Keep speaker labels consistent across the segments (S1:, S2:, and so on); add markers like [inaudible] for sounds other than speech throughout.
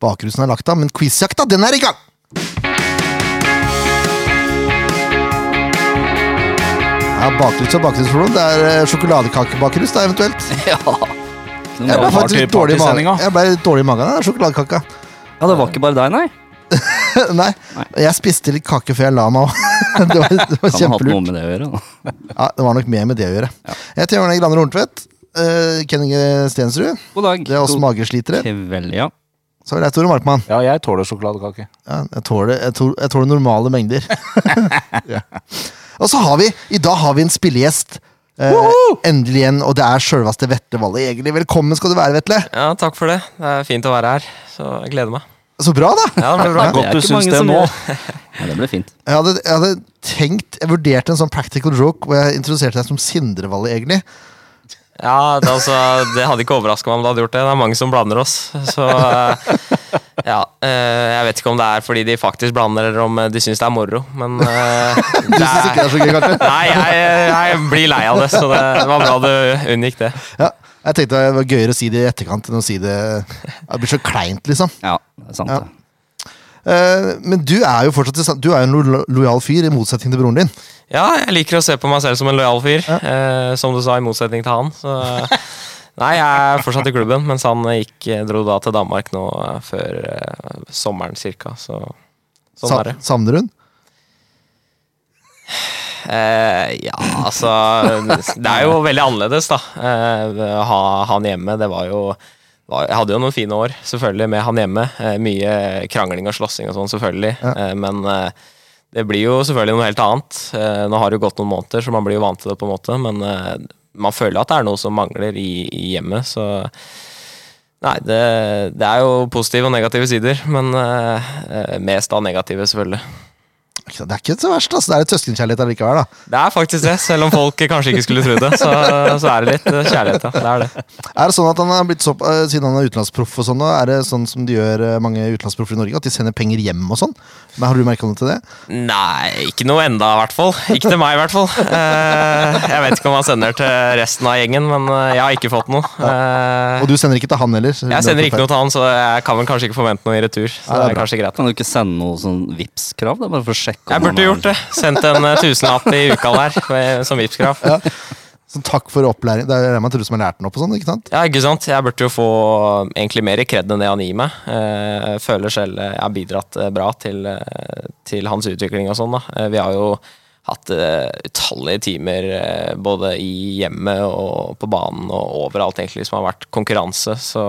S1: Bakrusen er lagt av, men quizjakta, den er i gang! Ja, bakrus og bakrusforum. Det er eh, sjokoladekakebakrus, da, eventuelt.
S2: Ja. Ikke noe
S1: Jeg ble
S2: bra part-
S1: faktisk litt dårlig i magen.
S2: partysendinga.
S1: Jeg ble litt dårlig i magen av den sjokoladekaka. [laughs]
S2: Ja, det var ikke bare deg, nei.
S1: Nei, jeg spiste litt kake før jeg la meg òg. [laughs] Det var, det var
S2: Kan ha hatt
S1: kjempelurt.
S2: noe med det å gjøre. da.
S1: Ja, det var nok mer med det å gjøre. Jeg heter Jørgen Graner Horntvedt. Uh, Kenninge Stensrud.
S2: God dag.
S1: Det er oss
S2: God
S1: mageslitere.
S2: kveld, ja.
S1: Så er det Tore Markmann.
S3: Ja, jeg tåler sjokoladekake.
S1: Ja, jeg, tåler, jeg, tåler, jeg tåler normale mengder. [laughs] Ja. Og så har vi, i dag har vi en spillegjest. Eh, endelig igjen, og det er sjølveste Vetle Valle Egeli. Velkommen skal du være, Vetle.
S4: Ja, takk for det. Det er fint å være her, så jeg gleder meg.
S1: Så bra, da!
S4: Ja, det blir
S2: Det
S4: bra.
S2: er
S3: Godt du
S2: ikke
S3: syns
S2: mange
S3: det
S2: som
S3: nå.
S2: gjør Ja, det ble fint.
S1: Jeg hadde, jeg hadde tenkt Jeg vurderte en sånn practical joke hvor jeg introduserte deg som Sindre Valle Egeli.
S4: [laughs] Ja, det, altså, det hadde ikke overraska meg om du hadde gjort det. Det er mange som blander oss. Så eh, ja. eh, Jeg vet ikke om det er fordi de faktisk blander, eller om eh, de syns det er moro, men [laughs] eh,
S1: Du
S4: det
S1: syns ikke det
S4: er
S1: er så gøy, kanskje?
S4: Nei, jeg, jeg blir lei av det, så det var bra du unngikk det.
S1: Ja, jeg tenkte det var gøyere å si det i etterkant enn å si det Det blir så kleint, liksom.
S2: Ja, det er sant.
S1: Ja.
S2: det.
S1: Eh, men du er jo fortsatt Du er jo en lo- lojal fyr, i motsetning til broren din.
S4: Ja, jeg liker å se på meg selv som en lojal fyr, eh, som du sa, i motsetning til han. Så Nei, jeg er fortsatt i klubben, mens han gikk, dro da til Danmark nå eh, før eh, sommeren cirka, så sånn
S1: Sa
S4: er det.
S1: savner hun?
S4: Eh, ja, altså Det er jo veldig annerledes, da. Eh, ha han hjemme, det var jo var, Jeg hadde jo noen fine år, selvfølgelig, med han hjemme. Eh, mye krangling og slåssing og sånn, selvfølgelig. Eh, men eh, det blir jo selvfølgelig noe helt annet. Eh, nå har det jo gått noen måneder, så man blir jo vant til det, på en måte. Men eh, man føler at det er noe som mangler i, i hjemmet, så Nei, det, det er jo positive og negative sider, men eh, eh, mest av negative, selvfølgelig.
S1: Ikke sant, Det er ikke så verst, altså. Det er litt søskenkjærlighet allikevel, da.
S4: Det er faktisk det, selv om folk kanskje ikke skulle tro det. Så, så er det litt eh, kjærlighet, ja. Det er det.
S1: Er det sånn at han har blitt så, eh, Siden han er utenlandsproff og sånn, nå, er det sånn som de gjør eh, mange utenlandsproffer i Norge? At de sender penger hjem og sånn? Men Har du merka noe til det?
S4: Nei, ikke noe enda, i hvert fall. Ikke til meg, i hvert fall. Eh, Jeg vet ikke om han sender til resten av gjengen, men eh, jeg har ikke fått noe. Eh,
S1: Og du sender ikke til han heller?
S4: Jeg sender ikke noe til han, så jeg kan vel kanskje ikke forvente noe i retur. Så det
S1: det er
S4: er kanskje greit.
S2: Kan du ikke sende noe sånn Vipps-krav? da, Bare for å sjekke om
S4: Jeg
S2: han
S4: burde
S2: har-
S4: gjort det. Sendt en eh, tusenlapp i uka der med- som Vipps-krav.
S1: Sånn, takk for opplæring. Det er det man tror som har lært den opp og sånn, ikke sant?
S4: Ja, ikke sant? Jeg burde jo få egentlig mer kred enn det han gir meg. Eh, Jeg føler selv eh, jeg har bidratt eh, bra til, eh, til hans utvikling og sånn. da. Eh, Vi har jo hatt eh, utallige timer eh, både i hjemmet og på banen og overalt egentlig som har vært konkurranse. Så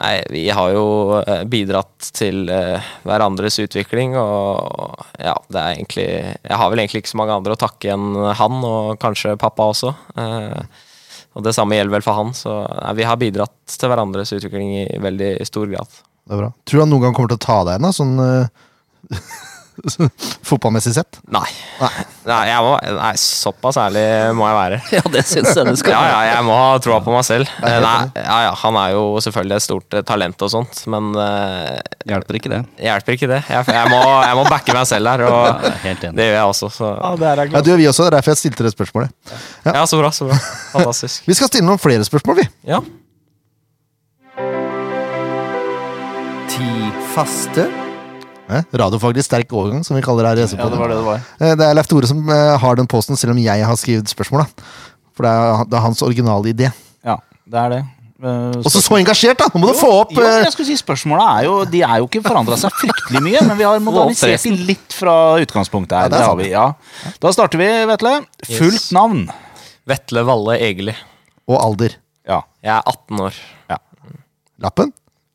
S4: nei, vi har jo eh, bidratt til eh, hverandres utvikling og ja, det er egentlig Jeg har vel egentlig ikke så mange andre å takke enn han og kanskje pappa også. Eh, og det samme gjelder vel for han, så nei, vi har bidratt til hverandres utvikling i veldig stor grad.
S1: Det er bra. Tror du han noen gang kommer til å ta deg igjen, da? Sånn eh, [laughs] fotballmessig sett?
S4: Nei. Nei, jeg må, nei såpass ærlig må jeg være.
S2: [laughs] Ja, det syns jeg du skal.
S4: [laughs] Ja, ja, jeg må ha troa på meg selv. Eh, Nei, ja, ja, han er jo selvfølgelig et stort eh, talent og sånt, men eh,
S2: Hjelper ikke det.
S4: hjelper ikke det. Jeg, jeg, må, jeg må backe meg selv her,
S2: Ja, jeg
S4: og
S2: er helt enig.
S4: det gjør jeg også. Så.
S1: Ja, du og vi også. Det er derfor jeg stilte det spørsmålet.
S4: Ja, så bra, så bra. Fantastisk.
S1: Vi skal stille noen flere spørsmål, vi.
S4: Ja.
S2: Ti faste.
S1: Eh, Radiofaglig sterk overgang, som vi kaller det her i
S3: Ja, det
S1: SV-podden.
S3: var det det var.
S1: Eh, Det er Leif Tore som eh, har den posten, selv om jeg har skrevet spørsmål. Da. For det er, han- det er hans originale idé.
S3: Ja, det er det. Eh,
S1: Og så så engasjert, da! Nå må du få opp
S3: jo,
S1: eh,
S3: jeg skulle si Spørsmåla er jo De er jo ikke forandra seg fryktelig mye, men vi har modernisert de litt fra utgangspunktet her.
S1: det er
S3: det har vi, ja. Da starter vi, Vetle. Fullt
S4: Yes.
S3: navn.
S4: Vetle Valle Egeli.
S1: Og alder.
S3: Ja.
S4: Jeg er 18 år.
S1: Lappen.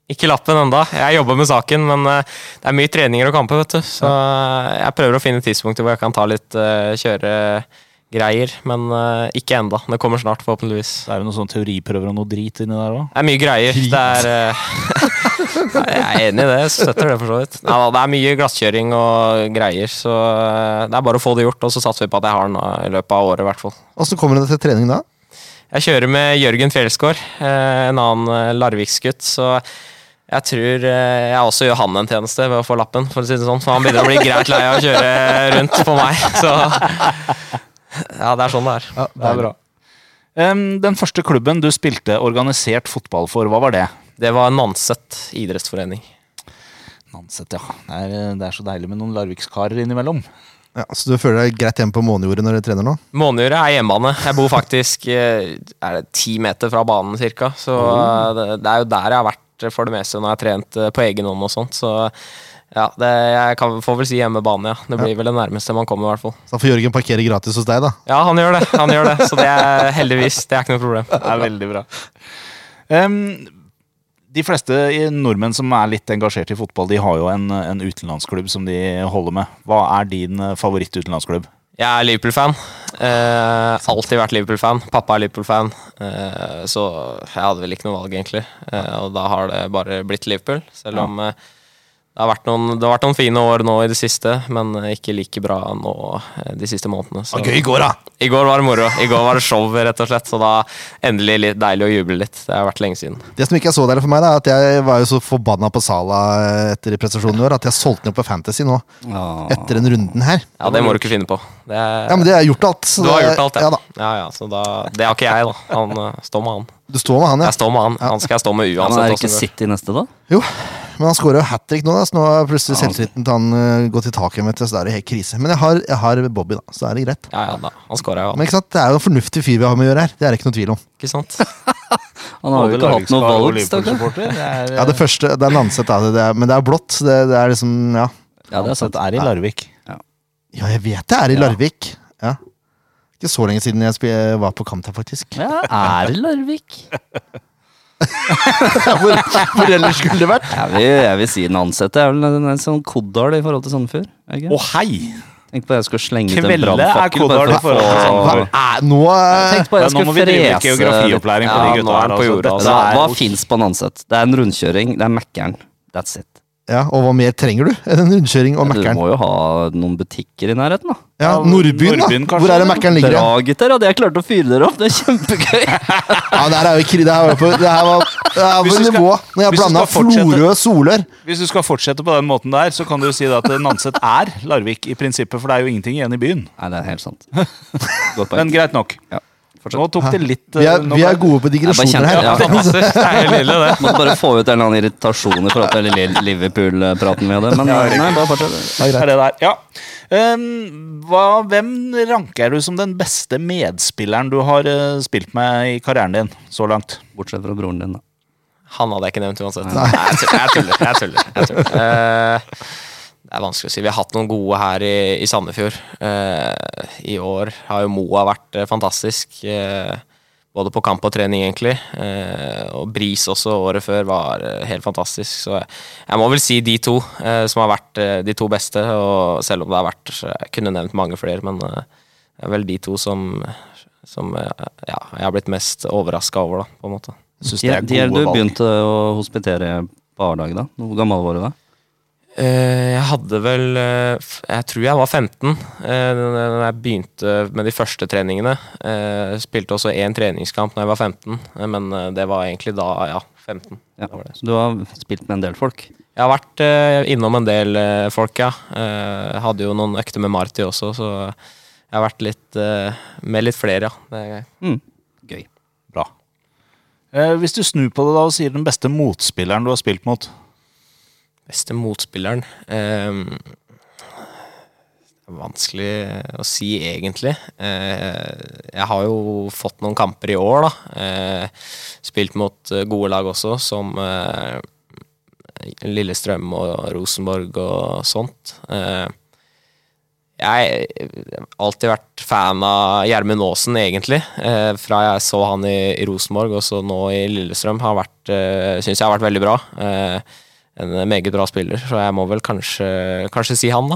S4: Ikke lappen enda. Jeg jobber med saken, men eh, det er mye treninger og kamper, vet du. Så eh, jeg prøver å finne tidspunkter hvor jeg kan ta litt eh, kjøregreier, men eh, ikke enda. Det kommer snart, forhåpentligvis.
S3: Det er jo noen sånne teoriprøver og noe drit inni der òg.
S4: Det er mye greier. Det er, eh, [laughs] Nei, jeg er enig i det. Jeg støtter det for så vidt. Nei, da, det er mye glasskjøring og greier, så eh, det er bare å få det gjort. Og så satser vi på at jeg har den eh, i løpet av året, i hvert fall.
S1: Åssen kommer det til trening da?
S4: Jeg kjører med Jørgen Fjellsgaard, eh, en annen eh, Larviksgutt, så jeg tror eh, jeg også gjør han en tjeneste ved å få lappen, for å si det sånn. For han begynner å bli greit lei av å kjøre rundt på meg, så [laughs] Ja, det er sånn det er.
S3: Det er bra. Em, den første klubben du spilte organisert fotball for, hva var det?
S4: Det var Nanset idrettsforening.
S3: Nanset, ja. Det er, eh, det er så deilig med noen larvikskarer innimellom.
S1: Ja, så du føler deg greit hjemme på månejordet når du trener nå?
S4: Månejordet er hjemmebane. Jeg bor faktisk eh, er det ti meter fra banen cirka. Så eh, det, det er jo der jeg har vært eh, for det meste når jeg har trent eh, på egen hånd og sånt. Så ja, det, jeg kan, får vel si hjemmebane, ja. Det blir vel det nærmeste man kommer, i hvert fall.
S1: Så da får Jørgen parkere gratis hos deg, da.
S4: Ja, han gjør det. han gjør det Så det er heldigvis. Det er ikke noe problem.
S3: Det er veldig bra. Em, de fleste i- nordmenn som er litt engasjert i fotball, de har jo en, en utenlandsklubb som de holder med. Hva er din eh, favoritt-utenlandsklubb?
S4: Jeg er Liverpool-fan. Eh, alltid vært Liverpool-fan. Pappa er Liverpool-fan. Eh, så jeg hadde vel ikke noe valg, egentlig. Eh, og da har det bare blitt Liverpool. Selv om eh, det, har vært noen, det har vært noen fine år nå i det siste, men eh, ikke like bra nå eh, de siste månedene. Så.
S1: Gøy i går, da!
S4: I går var det moro. I går var det show, rett og slett. Så da endelig litt deilig å juble litt. Det har vært lenge siden.
S1: Det som ikke er så deilig for meg, da, er at jeg var jo så forbanna på Sala eh, etter prestasjonen i år at jeg solgte den opp på Fantasy nå,
S2: Ja.
S1: etter den runden her.
S4: Ja, det må du ikke finne på. Det er,
S1: Ja, men det har jeg gjort alt. så
S4: du har
S1: det-
S4: gjort alt,
S1: ja.
S4: ja.
S1: da.
S4: ja, ja så da, det har ikke jeg, da. Han eh, står med han.
S1: Du står med han, ja.
S4: Jeg står med han. Han skal jeg stå med
S2: men
S4: uansett.
S2: er det
S4: hvordan
S2: ikke
S4: det går.
S2: City neste, da?
S1: Jo, men han skårer jo hat trick nå, da, så nå har plutselig
S2: Ja, han-
S1: selvtilliten til han eh, gått i taket, vet du, så da er det helt krise. Men jeg har, jeg har Bobby, da, så da er det greit.
S4: Ja, ja, da. Han scora jo,
S1: Men ikke sant, det er jo en fornuftig fyr vi har med å gjøre her. Det er det ikke noe tvil om.
S4: ikke sant?
S2: Han har jo ikke hatt noe valg, stakkar.
S1: Ja, Det første, det er Nanset, da, det- det er, men det er blått. så Det, det er liksom, ja.
S2: Ja, det er sant.
S3: er i Larvik.
S1: ja, jeg vet det er i Larvik. Ja. Ikke så lenge siden jeg spi- var på kamp her, faktisk.
S2: Ja, er det Larvik?
S1: Hvor, hvor ellers skulle det vært?
S2: Jeg vil, jeg vil si den ansatte er vel en, en sånn Kodal i forhold til Sandefjord. er jeg
S3: Å
S2: ikke?
S3: hei!
S2: Tenkte bare jeg skulle slenge ut en
S3: Kvelde er
S2: brannfakkel.
S3: Kodal i
S2: bare for å
S3: forhold til
S1: Hva
S2: få-
S3: Sandefjord.
S1: er nå eh,
S2: Tenkte bare jeg
S3: Ja, nå må vi
S2: skulle
S3: drive med
S2: frese litt.
S3: geografiopplæring på
S4: Ja,
S3: de
S4: nå
S3: gutta
S4: er
S3: her.
S4: han på jorda,
S3: Dette
S2: Altså,
S3: er
S2: hva
S3: jo-
S2: fins på Nanset? Det er en rundkjøring, det er Mækkern. That's it.
S1: Ja, Og hva mer trenger du enn en rundkjøring og
S2: Du
S1: Mækkern?
S2: må jo ha noen butikker i nærheten, da.
S1: Ja, Nordbyen, da.
S3: Nordbyen,
S1: Hvor
S3: kanskje,
S1: er det
S3: eller?
S1: Mækkern ligger?
S2: Bra,
S1: igjen?
S2: gutter. Hadde jeg klart å fyre dere opp, det er
S3: [laughs]
S2: kjempegøy.
S1: Ja, det her er jo kri, det her var på, det her var, det her var
S3: Hvis du skal-
S1: nivå. Når jeg
S3: hvis du
S1: blanda
S3: skal fortsette-
S1: Florø og Solør
S3: Hvis du skal fortsette på den måten der, så kan du jo si det at eh, Nanset er Larvik i prinsippet, for det er jo ingenting igjen i byen.
S2: Nei, det er helt sant. Godt poeng.
S3: Men greit nok.
S2: Ja, fortsett.
S3: Nå tok det litt
S1: Vi
S3: eh,
S1: er,
S3: nå
S1: vi
S3: ble-
S1: er gode på digresjoner
S2: Jeg bare kjente-
S1: her.
S2: Ja,
S4: fantastisk. Det er helt nydelig, det.
S2: Måtte bare få ut en eller annen irritasjon i forhold til Lill- Liverpool-praten vi hadde. Men eh, nei, bare fortsett.
S3: Det er det der. Ja. Ehm, hva, hvem ranker du som den beste medspilleren du har eh, spilt med i karrieren din så langt?
S2: Bortsett fra broren din, da.
S4: Han hadde jeg ikke nevnt uansett. Nei, jeg tuller. Jeg tuller, jeg tuller, jeg tuller. Eh, det er vanskelig å si. Vi har hatt noen gode her i, i Sandefjord. Eh, I år har jo Moa vært eh, fantastisk. eh, både på kamp og trening, egentlig. Eh, og Bris også, året før, var eh, helt fantastisk. Så jeg, jeg må vel si de to eh, som har vært eh, de to beste. Og selv om det har vært så Jeg kunne nevnt mange flere, men eh, det er vel de to som, som eh, ja, jeg har blitt mest overraska over, da, på en måte.
S3: Syns
S2: Ja, de er du begynte å hospitere på Ardag, da? Hvor gammel var du da?
S4: Eh, Jeg hadde vel eh, f- Jeg tror jeg var 15 eh, da jeg begynte med de første treningene. Eh, Spilte også én treningskamp da jeg var 15, eh, men eh, det var egentlig da, ja, 15.
S2: Ja.
S4: Det var det.
S2: Så du har spilt med en del folk?
S4: Jeg har vært eh, innom en del eh, folk, ja. Eh, Hadde jo noen økter med Marty også, så jeg har vært litt eh, med litt flere, ja. Det er
S2: Mm. Gøy.
S3: Bra. Eh, hvis du snur på det da og sier den beste motspilleren du har spilt mot
S4: Beste motspilleren Ehm, Det er vanskelig å si, egentlig. Eh, jeg har jo fått noen kamper i år, da. Eh, spilt mot eh, gode lag også, som eh, Lillestrøm og Rosenborg og sånt. Eh, jeg har alltid vært fan av Gjermund Aasen, egentlig. Eh, fra jeg så han i, i Rosenborg, og så nå i Lillestrøm, har vært, eh, syns jeg har vært veldig bra. Eh, en meget bra spiller, så jeg må vel kanskje, kanskje si han, da.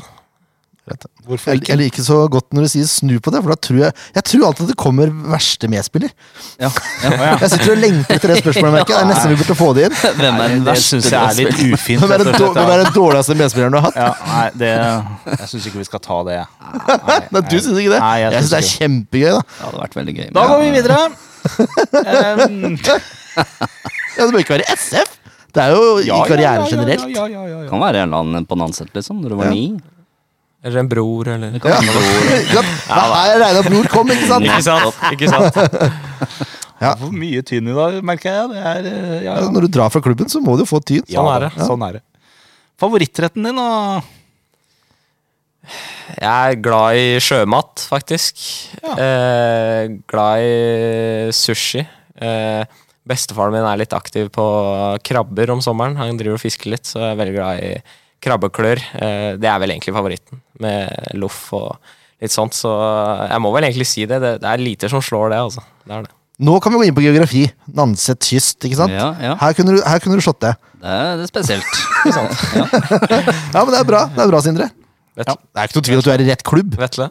S1: Jeg, jeg liker så godt når du sier snu på det, for da tror jeg Jeg tror alltid det kommer verste medspiller.
S2: [laughs] Ja. ja.
S1: Jeg sitter og lengter etter det spørsmålet. merker jeg. Det er nesten vi burde få det inn.
S2: Hvem er den
S3: Det
S2: verste?
S3: syns jeg
S2: du
S3: er
S2: har
S3: litt
S2: spilt?
S3: ufint.
S1: Hvem er
S3: rett
S1: den,
S3: og
S1: dår-
S3: slett, ja.
S1: hvem er den dårligste medspilleren du har hatt?
S3: Ja, nei, det Jeg syns ikke vi skal ta det.
S1: Nei, du syns ikke det?
S3: Nei, jeg
S1: Jeg syns det er
S3: synes
S1: kjempegøy, da.
S2: Det hadde vært veldig gøy.
S3: Da
S2: men-
S3: går vi videre. Ehm,
S1: Ja, det bør ikke være SF. Det er jo i
S3: ja,
S1: karrieren
S3: ja, ja,
S1: generelt.
S3: Ja, ja, ja, ja, ja.
S2: Kan være en eller annen på Nanset, liksom. Når du
S1: Ja.
S2: var ni.
S4: Eller en bror, eller
S1: [laughs] Ja. [laughs] Ikke sant? Da er Reinar Bror kom, ikke sant?
S4: Ikke sant? Ikke sant?
S1: Ja.
S3: Hvor mye tynn i dag, merker jeg. Det er, eh, ja,
S1: Ja,
S3: ja.
S1: Når du drar fra klubben, så må du jo få tyn.
S3: Ja,
S4: Sånn er det.
S3: da, Sånn er det. Favorittretten din, da?
S4: Jeg er glad i sjømat, faktisk. Eh, glad i sushi. Eh, bestefaren min er litt aktiv på krabber om sommeren. Han driver og fisker litt, så jeg er veldig glad i krabbeklør. Eh, det er vel egentlig favoritten, med loff og litt sånt. Så jeg må vel egentlig si det. Det, det er lite som slår det, altså. Det er det.
S1: Nå kan vi gå inn på geografi. Nanset kyst, ikke sant?
S2: Ja, ja.
S1: Her kunne du, her kunne du slått det.
S2: Det er, det er spesielt.
S1: Ja, men det er bra, det er bra Sindre.
S4: Vet,
S1: Det er ikke noe tvil at du er i rett klubb. Å
S4: Vetle,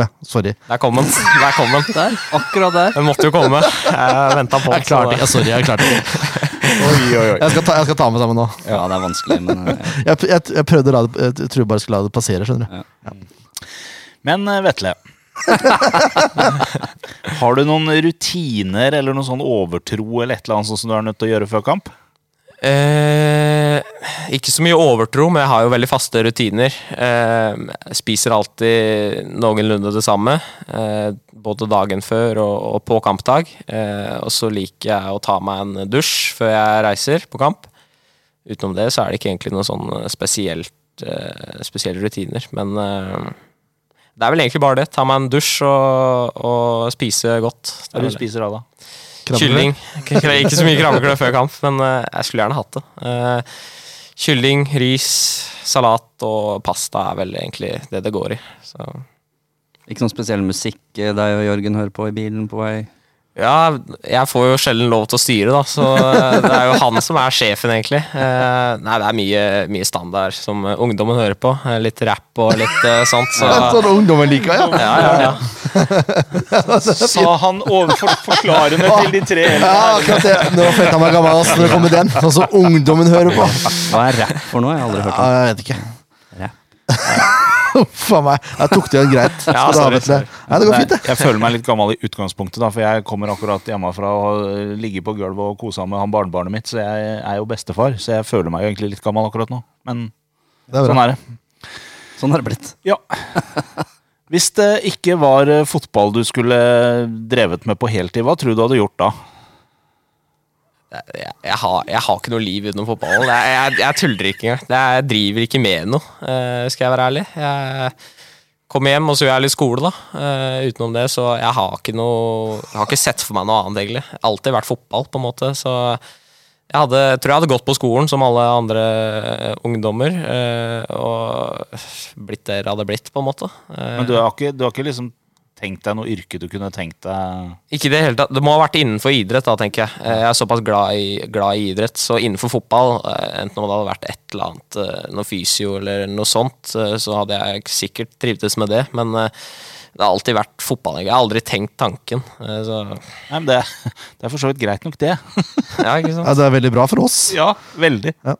S1: ja, sorry.
S4: der kom den. Der kom den.
S2: [laughs] Der, akkurat der.
S4: Den måtte jo [laughs] komme. Jeg venta på den. så det-
S1: sorry, jeg [laughs] klarte det.
S3: Oi, oi, oi.
S1: Jeg skal ta, jeg skal ta med sammen nå.
S2: Ja, det er vanskelig, men eh,
S1: Jeg, jeg, jeg prøvde å la det Jeg tror jeg bare skulle la det passere, skjønner du.
S3: Men eh, Vetle [laughs] Har du noen rutiner eller noen sånn overtro eller et eller annet sånt som du er nødt til å gjøre før kamp?
S4: Eh, ikke så mye overtro, men jeg har jo veldig faste rutiner. Eh, jeg spiser alltid noenlunde det samme, eh, både dagen før og, og på kampdag. Eh, og så liker jeg å ta meg en dusj før jeg reiser på kamp. Utenom det så er det ikke egentlig noen sånn spesielt, eh, spesielle rutiner, men eh, det er vel egentlig bare det. Ta meg en dusj og, og spise godt.
S3: Hva er
S4: Det er
S3: det
S4: vel det.
S3: du
S1: [laughs]
S3: spiser av da?
S1: Krabbe.
S4: Kylling. Ikke ikke så mye krabbeklør før kamp, men eh, jeg skulle gjerne hatt det. Eh, kylling, ris, salat og pasta er vel egentlig det det går i. Så.
S2: ikke noen spesiell musikk eh, deg og Jørgen hører på i bilen på vei
S4: Ja, jeg får jo sjelden lov til å styre, da, så eh, det er jo han som er sjefen, egentlig. Eh, nei, det er mye, mye standard som eh, ungdommen hører på. Eh, litt rap og litt eh, sånt, så
S1: Sånn ungdommen liker, ja.
S4: ja, ja, ja.
S3: Sa han overfor forklarende til de tre
S1: Ja, akkurat det. Nå følte jeg meg gammel ass, når det kom med den. Sånn som ungdommen hører på.
S2: Hva er rap for noe? Jeg har aldri hørt
S1: Ja,
S2: om
S1: jeg vet ikke.
S2: rap.
S1: [laughs] Uff a meg. Jeg tok det jo greit. Skal du
S4: Ja,
S1: ha
S4: sorry,
S1: med til det? Nei, det går fint, det.
S3: Jeg føler meg litt gammel i utgangspunktet, da, for jeg kommer akkurat hjemmefra og har ligget på gulvet og kosa med han barnebarnet mitt, så jeg er jo bestefar. Så jeg føler meg jo egentlig litt gammel akkurat nå. Men
S1: Det er
S3: sånn
S1: bra.
S3: er det.
S2: Sånn har det blitt.
S1: [laughs]
S3: Ja. Hvis det ikke var eh, fotball du skulle eh, drevet med på heltid, hva tror du du hadde gjort da?
S4: jeg, jeg, har, jeg har ikke noe liv utenom fotballen. Jeg, jeg, jeg tuller ikke engang. Det er- Jeg driver ikke med noe, eh, skal jeg være ærlig. Jeg kommer hjem, og så gjør jeg litt skole, da. Eh, utenom det, så jeg har ikke noe Jeg har ikke sett for meg noe annet, egentlig. Alltid vært fotball, på en måte. Så jeg hadde, tror jeg hadde gått på skolen som alle andre eh, ungdommer, eh, og blitt der jeg hadde blitt, på en måte. Eh,
S3: Men du har ikke, du har ikke liksom tenkt deg noe yrke du kunne tenkt deg
S4: Ikke i det hele tatt. Det må ha vært innenfor idrett, da, tenker jeg. Eh, Jeg er såpass glad i, glad i idrett, så innenfor fotball, eh, enten om det hadde vært et eller annet, eh, noe fysio eller noe sånt, eh, så hadde jeg sikkert trivdes med det, men eh, det har alltid vært fotball. Jeg har aldri tenkt tanken. eh, Så,
S3: Nei, men det, det er [laughs] for så vidt greit nok, det. [laughs]
S4: ja, ikke sant?
S1: Ja, det er veldig bra for oss.
S3: Ja, veldig.
S1: Ja.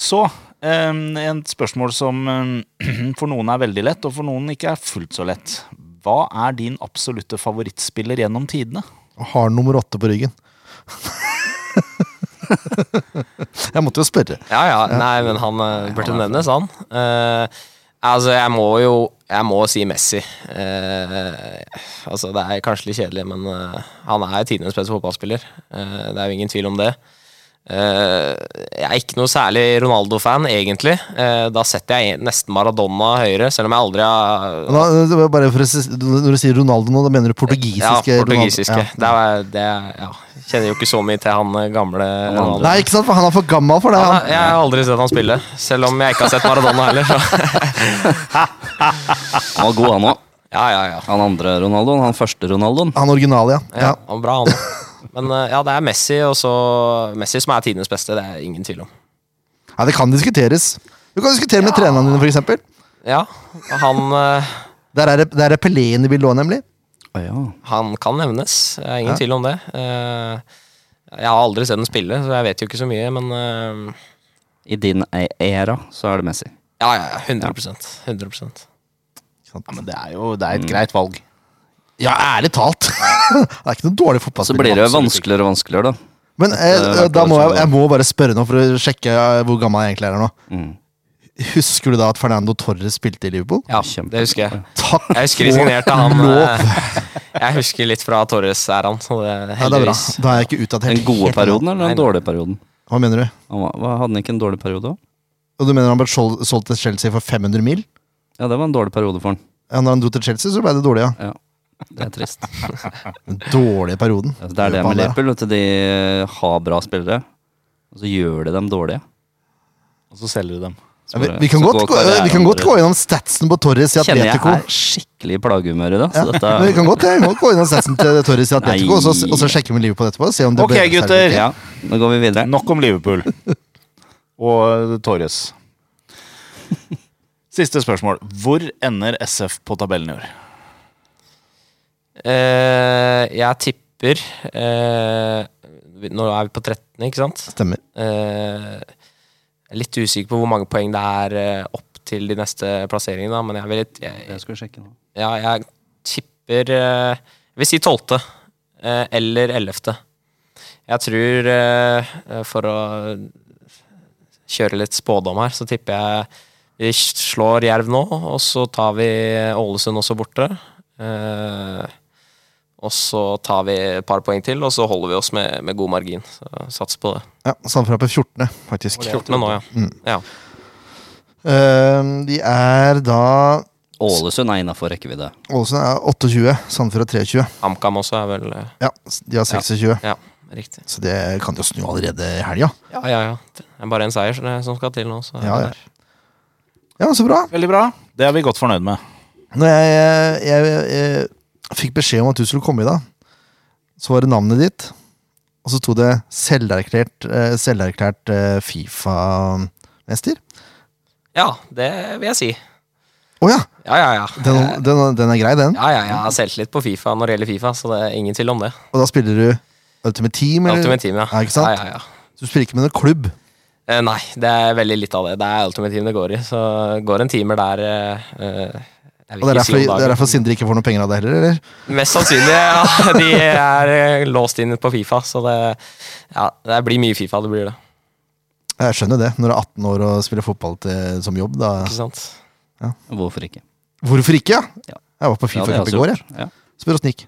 S3: Så um, et spørsmål som em, [clears throat] for noen er veldig lett, og for noen ikke er fullt så lett. Hva er din absolutte favorittspiller gjennom tidene?
S1: Og har nummer åtte på ryggen. [laughs] Jeg måtte jo spørre.
S4: Ja, ja. Nei, men han eh, burde nevnes, han. Eh, altså, jeg må jo Jeg må si Messi. Eh, altså, det er kanskje litt kjedelig, men eh, han er tidenes beste fotballspiller. Eh, det er jo ingen tvil om det. Eh, jeg er ikke noe særlig Ronaldo-fan, egentlig. Eh, da setter jeg nesten Maradona høyere, selv om jeg aldri har
S1: Men da, det var bare for å, si- når du sier Ronaldo nå, da mener du portugisiske?
S4: ja,
S1: Ronaldo.
S4: portugisiske.
S1: Ja.
S4: Det er, det er, ja. Kjenner jo ikke så mye til han eh, gamle Ronaldo.
S1: Nei, ikke sant, for han er for gammel for det.
S4: Ja,
S1: Han.
S4: jeg har aldri sett han spille, selv om jeg ikke har sett Maradona heller. [laughs] Så.
S2: Han var god, han òg.
S4: Ja, ja, ja.
S2: Han andre Ronaldoen. Han første Ronaldoen.
S1: Han originale, ja. ja.
S4: Ja, han var bra han også. Men eh, ja, det er Messi, og så Messi som er tidenes beste, det er ingen tvil om.
S1: Ja, Det kan diskuteres. Du kan diskutere med trenerne dine, for eksempel.
S4: Ja, han, eh,
S1: Der er, det- der er Pelé inne i bildet òg, nemlig.
S2: Å ja.
S4: han kan nevnes, det er ingen tvil om det. Eh, Jeg har aldri sett ham spille, så jeg vet jo ikke så mye, men eh,
S2: I din e- æra så er det Messi.
S4: ja, ja, ja, 100, 100%.
S3: Ja, men det er jo det er et greit valg.
S1: Ja, ærlig talt! [laughs] det er ikke noe dårlig
S2: Så
S1: fotballspiller.
S2: blir det jo
S1: absolutt.
S2: vanskeligere og vanskeligere, da.
S1: Men eh,
S2: Dette-
S1: da må jeg, jeg må bare spørre nå, for å sjekke eh, hvor gammel jeg egentlig er nå.
S2: Mm.
S1: Husker du da at Fernando Torres spilte i Liverpool?
S4: Ja,
S2: Kjempe-
S4: det husker jeg.
S1: Takk
S4: Jeg husker de signerte han eh, Jeg husker litt fra Torres-æraen, så det
S1: Ja, det er bra.
S4: heldigvis.
S1: Da er jeg ikke utdatert.
S2: Den gode
S1: helt ennå.
S2: perioden eller den dårlige perioden?
S1: Hva mener du?
S2: Han var, hva- hadde han ikke en dårlig periode òg?
S1: Og du mener han ble sol- solgt til Chelsea for 500 mil?
S2: Ja, det var en dårlig periode for han.
S1: Ja, når han dro til Chelsea, så ble det dårlig, ja.
S2: Ja. Det er trist.
S1: Den dårlige perioden.
S2: [laughs] Altså, det er det med Liverpool. Vet du, de eh, har bra spillere, og så gjør de dem dårlige.
S3: Og så selger du dem.
S1: Ja, vi, vi, kan godt, gå, eh, vi kan godt gå gjennom statsen på Torres i
S2: Kjenner jeg
S1: Atletico.
S2: er skikkelig i plagehumør i dag.
S1: Ja,
S2: Så dette
S1: men [laughs] vi kan godt, ja, vi kan godt gå innom statsen til Torres i Atletico, og så, og så sjekker vi livet på det etterpå. og Se om det
S3: Ok,
S1: bør-
S3: gutter.
S2: Ja, nå går vi videre.
S3: Nok om [laughs] Liverpool og eh, Torres. Siste spørsmål. Hvor ender SF på tabellen i år?
S4: Eh, jeg tipper eh, vi- Nå er vi på 13, ikke sant?
S1: Stemmer.
S4: Eh, jeg er litt usikker på hvor mange poeng det er eh, opp til de neste plasseringene, da, men jeg vil, jeg,
S2: Jeg skulle sjekke nå.
S4: ja, jeg tipper eh, Jeg vil si 12. eh, eller 11. Jeg tror, eh, for å kjøre litt spådom her, så tipper jeg vi slår Jerv nå, og så tar vi Ålesund også borte. Eh, og så tar vi et par poeng til, og så holder vi oss med, med god margin. Så Sats på det.
S1: Ja, Samme fra på 14., faktisk.
S4: 14 nå, ja. ja.
S1: Eh, de er da
S2: Ålesund er innafor rekkevidde.
S1: Ålesund er 28, Sandefjord er 23.
S4: HamKam også er vel eh,
S1: Ja, de har 26.
S4: Ja, riktig.
S1: Så det kan jo snu allerede i helga.
S4: Ja, ja, ja. Det er bare en seier eh, som skal til nå. Så er
S1: Ja, ja.
S4: det der.
S1: Ja, så bra.
S3: Veldig bra. Det er vi godt fornøyd med.
S1: Når jeg, jeg, jeg, jeg fikk beskjed om at du skulle komme i dag, så var det navnet ditt. Og så sto det selverklært, eh, selverklært eh, Fifa-mester.
S4: Ja, det vil jeg si.
S1: Å ja!
S4: Ja, ja, ja.
S1: Den, den, den er grei, den.
S4: Ja, ja, jeg har selvtillit på Fifa når det gjelder Fifa, så det er ingen tvil om det.
S1: Og da spiller du Ultimate Team? Eller?
S4: Ultimate Team, ja.
S1: Ja, ikke sant?
S4: Ja, ja, ja.
S1: Du spiller ikke med noen klubb?
S4: Eh, nei, det er veldig litt av det. Det er Ultimate Team det går i. Så går en timer der eh, eh, jeg vil
S1: Og Det er
S4: ikke si
S1: derfor,
S4: om
S1: det er
S4: dagen.
S1: derfor Sindre ikke får noe penger av det heller? eller?
S4: Mest sannsynlig, ja. [laughs] De er eh, låst inn på Fifa, så det, ja, det blir mye Fifa. det blir det,
S1: Jeg skjønner det, når du er 18 år og spiller fotball til, som jobb. Da.
S4: ikke sant?
S2: Hvorfor ikke?
S1: Hvorfor ikke?
S2: Ja.
S1: Ja. Jeg var på
S2: Ja, det
S1: Fifa-kamp
S2: er
S1: i går. Jeg.
S2: også- Ja.
S1: Spør åssen det gikk.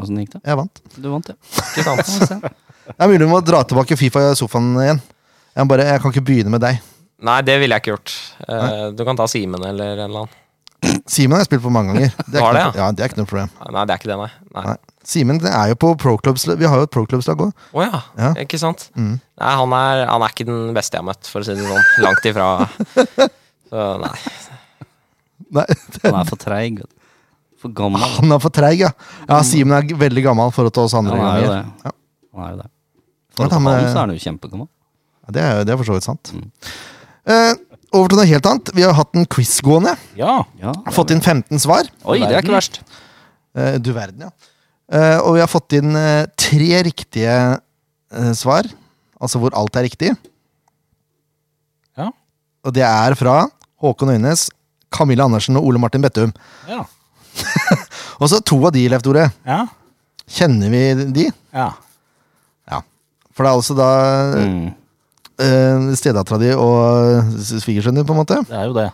S2: Åssen gikk det?
S1: Jeg vant.
S2: Du vant, ja.
S4: Ikke sant?
S1: [laughs] Det er mulig vi må dra tilbake Fifa i sofaen igjen. Jeg, må bare, jeg kan ikke begynne med deg.
S4: Nei, det ville jeg ikke gjort. Eh, du kan ta Simen eller en eller annen.
S1: Simen har jeg spilt på mange
S2: [laughs]
S1: ganger. Det er,
S4: Har
S1: ikke,
S4: det,
S1: noe, ja, det er ikke noe problem.
S4: Nei, det er ikke det, nei. nei.
S1: Nei. Simen det er jo på proclubs. Vi har jo et proclubslag òg.
S4: Å ja.
S1: Ja. Mm.
S4: ikke sant? Nei, han er, han er ikke den beste jeg har møtt, for å si det sånn. Langt
S1: [laughs]
S4: ifra. Så nei.
S2: Han er for treig. vet du. For gammel.
S1: [laughs] Han er for treig, ja. ja Simen er veldig gammel i forhold til oss andre.
S2: Han er jo
S1: ganger.
S2: det.
S1: Ja.
S2: Han er jo det.
S1: Ja,
S2: For
S1: han er-
S2: han så er Mm. han jo kjempegammel.
S1: Ja, det, er, jo- det er for så vidt sant. Eh, over til noe helt annet. Vi har hatt en quiz gående.
S3: Ja.
S2: Ja.
S1: Fått inn 15 svar.
S2: Oi, det er ikke verst.
S1: Eh, du verden, ja. Eh, og vi har fått inn eh, tre riktige eh, svar. Altså hvor alt er riktig.
S3: Ja.
S1: Og det er fra Håkon Øynes, Camilla Andersen og Ole Martin Bettum.
S3: Ja.
S1: Og så to av de, Leif Tore.
S3: Ja.
S1: Kjenner vi de?
S3: ja.
S1: For det er altså da
S2: Mm.
S1: eh, stedattera di og s- svigersønnen din, på en måte.
S3: Det er jo det.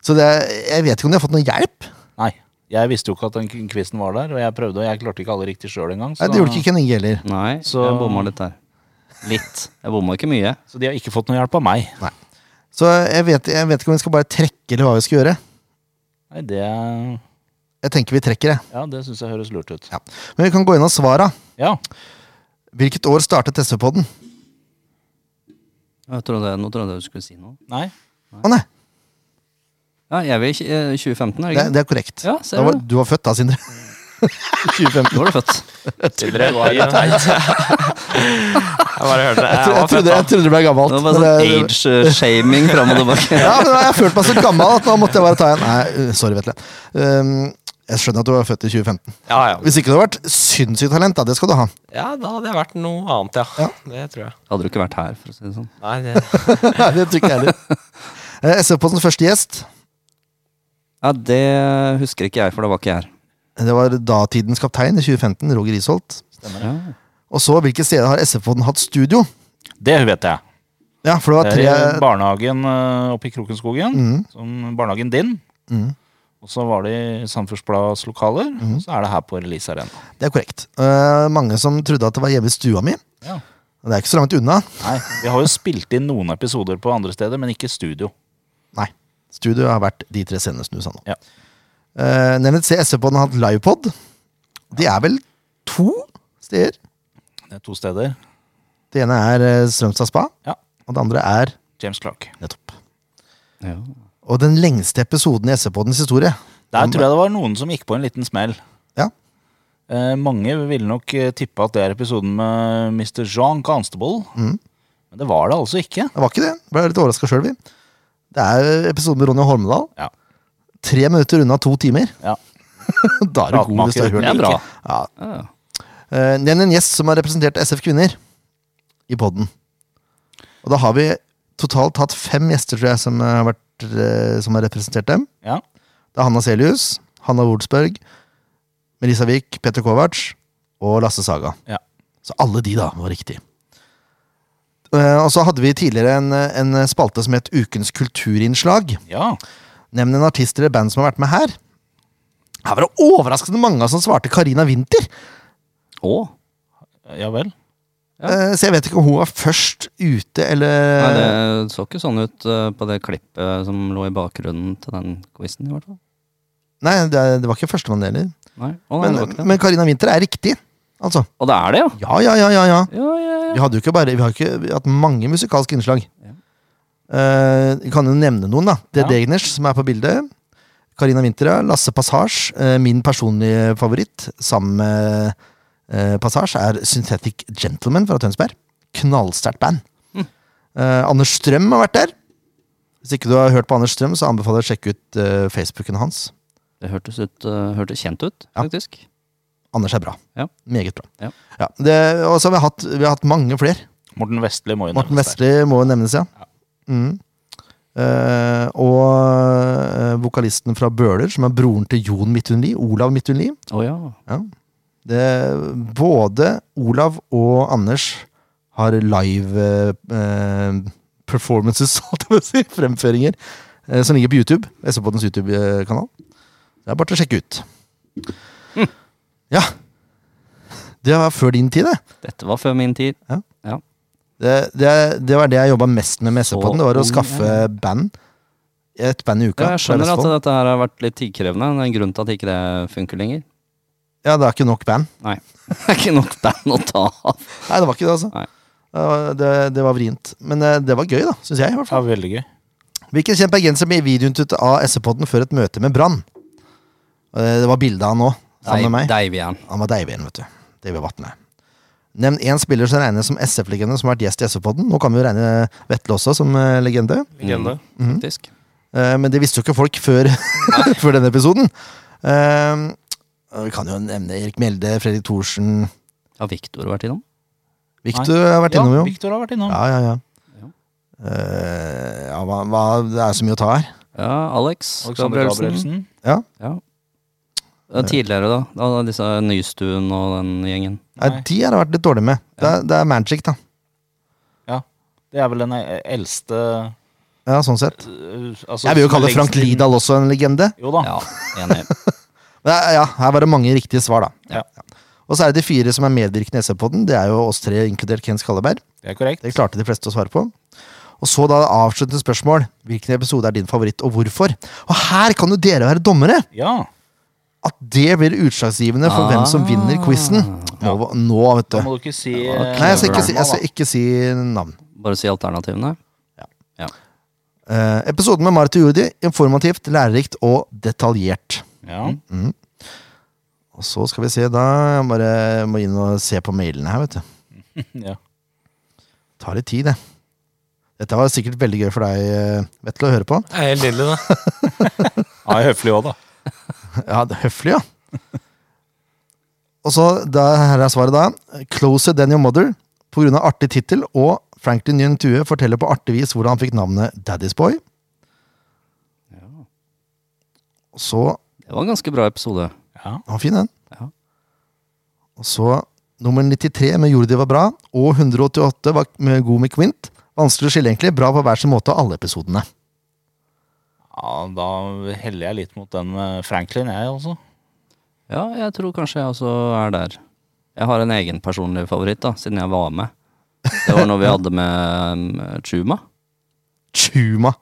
S1: Så det er, jeg vet ikke om de har fått noe hjelp.
S3: Nei. Jeg visste jo ikke at den quizen var der, og jeg prøvde, og jeg klarte ikke alle riktig sjøl engang. Så,
S1: Nei, det gjorde ikke Kenning heller.
S2: Nei,
S3: Så-
S2: jeg bomma litt der. Litt. Jeg bomma ikke mye.
S3: så de har ikke fått noe hjelp av meg.
S1: Så jeg vet, jeg vet ikke om vi skal bare trekke, eller hva vi skal gjøre.
S3: Nei, det
S1: Jeg tenker vi trekker, jeg.
S3: Ja, det syns jeg høres lurt ut.
S1: Ja. Men vi kan gå gjennom svara.
S3: Ja.
S1: Hvilket år startet SV-podden?
S2: Jeg trodde, nå trodde jeg du skulle si noe.
S3: Nei.
S1: Å nei,
S2: Ja, jeg vil ikke- eh, 2015, er det
S1: det,
S2: ikke?
S1: det er korrekt.
S2: Ja, ser
S1: da var,
S2: du.
S1: du var født da, Sindre. 2015.
S2: Nå var du født.
S1: [laughs]
S4: Sindre, ja. [laughs] Jeg bare hørte det.
S1: Jeg, tro-
S4: var
S1: jeg, trodde, jeg
S4: fett,
S1: trodde det ble gammelt.
S2: Det var bare
S1: men
S2: sånn
S1: det-
S2: age-shaming fram og
S1: [laughs]
S2: tilbake.
S1: Ja, men jeg følte meg så gammel at nå måtte jeg bare ta en Nei, uh, sorry, Vetle. Um, jeg skjønner at du var født i 2015.
S4: da. Ja, ja.
S1: Hvis ikke du hadde vært sinnssykt talent, da, det skal du ha. [laughs]
S4: ja, da hadde jeg vært noe annet, ja. Det tror jeg.
S2: Hadde du ikke vært her, for å si det sånn.
S4: Nei, det,
S1: Nei, det tror ikke jeg heller. Uh, SV-poddens første gjest,
S2: Ja, Det husker ikke jeg, for da var ikke jeg her.
S1: det var datidens kaptein i 2015, Roger Isholt.
S2: Ja.
S1: Og så, hvilke steder har SV-podden hatt studio?
S3: Det vet jeg.
S1: Ja, for det var
S3: Det er i
S1: tre Mm.
S3: barnehagen eh, oppe i Krokenskogen. Som barnehagen din. Og så var det i Sandefjords Blads lokaler,
S1: Mm.
S3: og så er det her på Release Arena.
S1: Det er korrekt. Eh, mange som trodde at det var hjemme i stua mi.
S3: Ja.
S1: Det er ikke så langt unna.
S3: Nei, Vi har jo spilt inn noen episoder på andre steder, men ikke studio.
S1: Nei. Studio har vært de tre sendesnusa nå.
S3: Ja.
S1: Eh, Nevnet C SV-poden har hatt livepod. De er vel to steder.
S3: Det er to steder.
S1: Det ene er eh, Strømstad spa,
S3: Ja.
S1: og det andre er
S3: James Clark.
S1: nettopp.
S2: Ja.
S1: Og den lengste episoden i SV-podens historie.
S3: Der tror jeg det var noen som gikk på en liten smell.
S1: Ja.
S3: Eh, mange ville nok eh, tippe at det er episoden med Mr. Jean Constable. Men det var det altså ikke.
S1: Mm. Det var ikke det. Ble litt overraska sjøl, vi. Det er episoden med Ronny Holmedal.
S3: Ja.
S1: Tre minutter unna to timer.
S3: Ja.
S1: [laughs] Da er du god hvis du har hørt
S2: Det er bra.
S1: Ja.
S2: Ja.
S1: Eh, Nevn en gjest som har representert SF Kvinner i poden. Og da har vi totalt hatt fem gjester, tror jeg, som har, vært, eh, som har representert dem.
S3: Ja.
S1: Det er Hanna Selius, Hanna Woldsberg, Melissa Wiik, Peter Kovac og Lasse Saga.
S3: Ja.
S1: Så alle de, da, var riktig. Eh, Og så hadde vi tidligere en, en spalte som het Ukens kulturinnslag.
S3: ja.
S1: Nevn en artist eller band som har vært med her. Her var det overraskende mange som svarte Carina Winther.
S2: Å?
S3: Ja vel.
S1: Eh, Så jeg vet ikke om hun var først ute, eller
S2: Nei, det så ikke sånn ut eh, på det klippet som lå i bakgrunnen til den quizen, i hvert fall.
S1: Nei, det, det var ikke førstemann heller.
S2: Nei, å, nei
S1: Men,
S2: det var ikke det.
S1: men Carina Winther er riktig, altså.
S2: Og det er det, ja!
S1: Ja, ja, ja, ja. ja.
S2: Ja, ja, ja.
S1: Vi hadde jo ikke bare Vi har ikke vi har hatt mange musikalske innslag.
S2: Ja.
S1: Eh, Vi kan jo nevne noen, da. Det
S3: Ja.
S1: er Degners som er på bildet. Carina Winther, ja. Lasse Passage. eh, Min personlige favoritt sammen med eh, Passage er Synthetic Gentleman fra Tønsberg. Knallsterkt band.
S2: Hm.
S1: Eh, Anders Strøm har vært der. Hvis ikke du har hørt på Anders Strøm, så anbefaler jeg å sjekke ut eh, Facebooken hans.
S2: Det hørtes, ut, eh, hørtes kjent ut,
S1: Ja.
S2: faktisk.
S1: Anders er bra.
S2: Ja.
S1: Meget bra.
S2: Ja.
S1: Ja, det, og så har vi hatt, vi har hatt mange flere.
S3: Morten Vestli må jo
S1: Morten
S3: nevnes der.
S1: Vestli må jo nevnes, ja. Mm. Eh, og eh, vokalisten fra Bøler, som er broren til Jon Midthun Lie, Olav Midthun Lie.
S2: Å ja.
S1: Det- Både Olav og Anders har live eh, eh, performances, [laughs] holdt jeg på å si, fremføringer, eh, som ligger på YouTube. SV-podens YouTube-kanal. Det er bare til å sjekke [laughs] ut. Ja. Det var før din tid, det.
S2: Dette var før min tid.
S1: Det, det, det var det jeg jobba mest med med
S2: Så
S1: SV-podden. Det var å
S2: ung,
S1: skaffe
S2: ja.
S1: band. Et band i uka.
S2: Ja, jeg skjønner
S1: fra
S2: at
S1: Vestfold.
S2: dette her har vært litt tidkrevende. Det er en grunn til at ikke det funker lenger. [laughs]
S1: Ja, det er ikke nok band.
S2: Nei. Det er ikke nok band å ta av.
S1: Nei, det var ikke det, altså.
S2: Nei.
S1: Ja, Det, det var vrient. Men eh, det var gøy, da. Syns jeg. i hvert fall
S3: Ja, veldig gøy.
S1: Hvilken kjent bergenser ble videointervjuet av SV-podden før et møte med Brann? Eh, Det var bilde av han òg, sammen med meg.
S2: Deivian.
S1: Han var Deivien, vet du. Deivian Vatne. Nevn én spiller som regnes som SF-legende som har vært gjest i SV-podden. Nå kan vi jo regne Vetle også som eh, legende.
S4: Legende.
S2: Faktisk.
S1: Eh, Men det visste jo ikke folk før, [laughs] før denne episoden. Eh, vi kan jo nevne Erik Mjelde, Fredrik Thorsen
S2: Har Viktor vært innom?
S1: Victor har vært innom,
S3: Ja,
S1: jo.
S3: Victor har vært innom.
S1: Ja, ja, ja.
S2: Ja.
S1: Eh, ja hva, hva, det er så mye å ta her.
S2: Ja, Alex
S3: Alexander
S2: Gabrielsen.
S3: Gabrielsen.
S2: Ja. Ja, Tidligere, da. da disse Nystuen og den gjengen.
S1: Nei,
S3: Nei.
S1: de har det vært litt dårlig med. Det er, det er Magic, da.
S3: Det er vel den eh, eldste
S1: Ja, sånn sett.
S3: eh, altså,
S1: Jeg vil jo
S3: som er
S1: kalle
S3: lengst
S1: Frank
S3: inn-
S1: Lidahl også en legende.
S3: Jo da.
S2: Ja, enig.
S1: Men eh, ja, ja, her var det mange riktige svar, da.
S3: Ja.
S1: Og så er det de fire som er medvirkende i SV-podden. Det er jo oss tre, inkludert Ken Skalleberg.
S3: Det er korrekt.
S1: Det klarte de fleste å svare på. Og så da avsluttende spørsmål. Hvilken episode er din favoritt, og hvorfor? Og her kan jo dere være dommere!
S3: Ja.
S1: At det blir utslagsgivende for hvem som vinner quizen. Nå, nå, vet
S3: Ah. Da
S1: du.
S3: må du ikke si eh,
S2: Ja, det var
S1: Nei, jeg skal ikke si, jeg skal
S3: da.
S1: ikke si navn.
S2: Bare si alternativene.
S1: Eh, episoden med Marit og Judy. Informativt, lærerikt og detaljert.
S3: Ja.
S1: Og så skal vi se, da Jeg bare må inn og se på mailene her, vet du.
S3: ja.
S1: Tar litt tid, det. Dette var sikkert veldig gøy for deg, eh, Vetle, å høre på.
S4: Det er helt nydelig, det.
S3: Ja, jeg er høflig òg, da.
S1: Ja, det er høflig, ja. Og så, da, her er svaret da. Closer than your mother, på grunn av artig tittel, og Franklin Nyen Tue forteller på artig vis hvordan han fikk navnet Daddy's Boy. Og så,
S2: Det var en ganske bra episode.
S3: Ja.
S1: han var fin den.
S2: Ja.
S1: Og så, nummer 93 med Jordi var bra, og 188 var med god med Quint. Vanskelig å skille egentlig, bra på hver sin måte av alle episodene.
S3: Ja, da heller jeg litt mot den med Franklin, jeg også.
S2: Ja, jeg tror kanskje jeg også er der. Jeg har en egen personlig favoritt, da, siden jeg var med. Det var når vi hadde med um, Chuma.
S1: Chuma!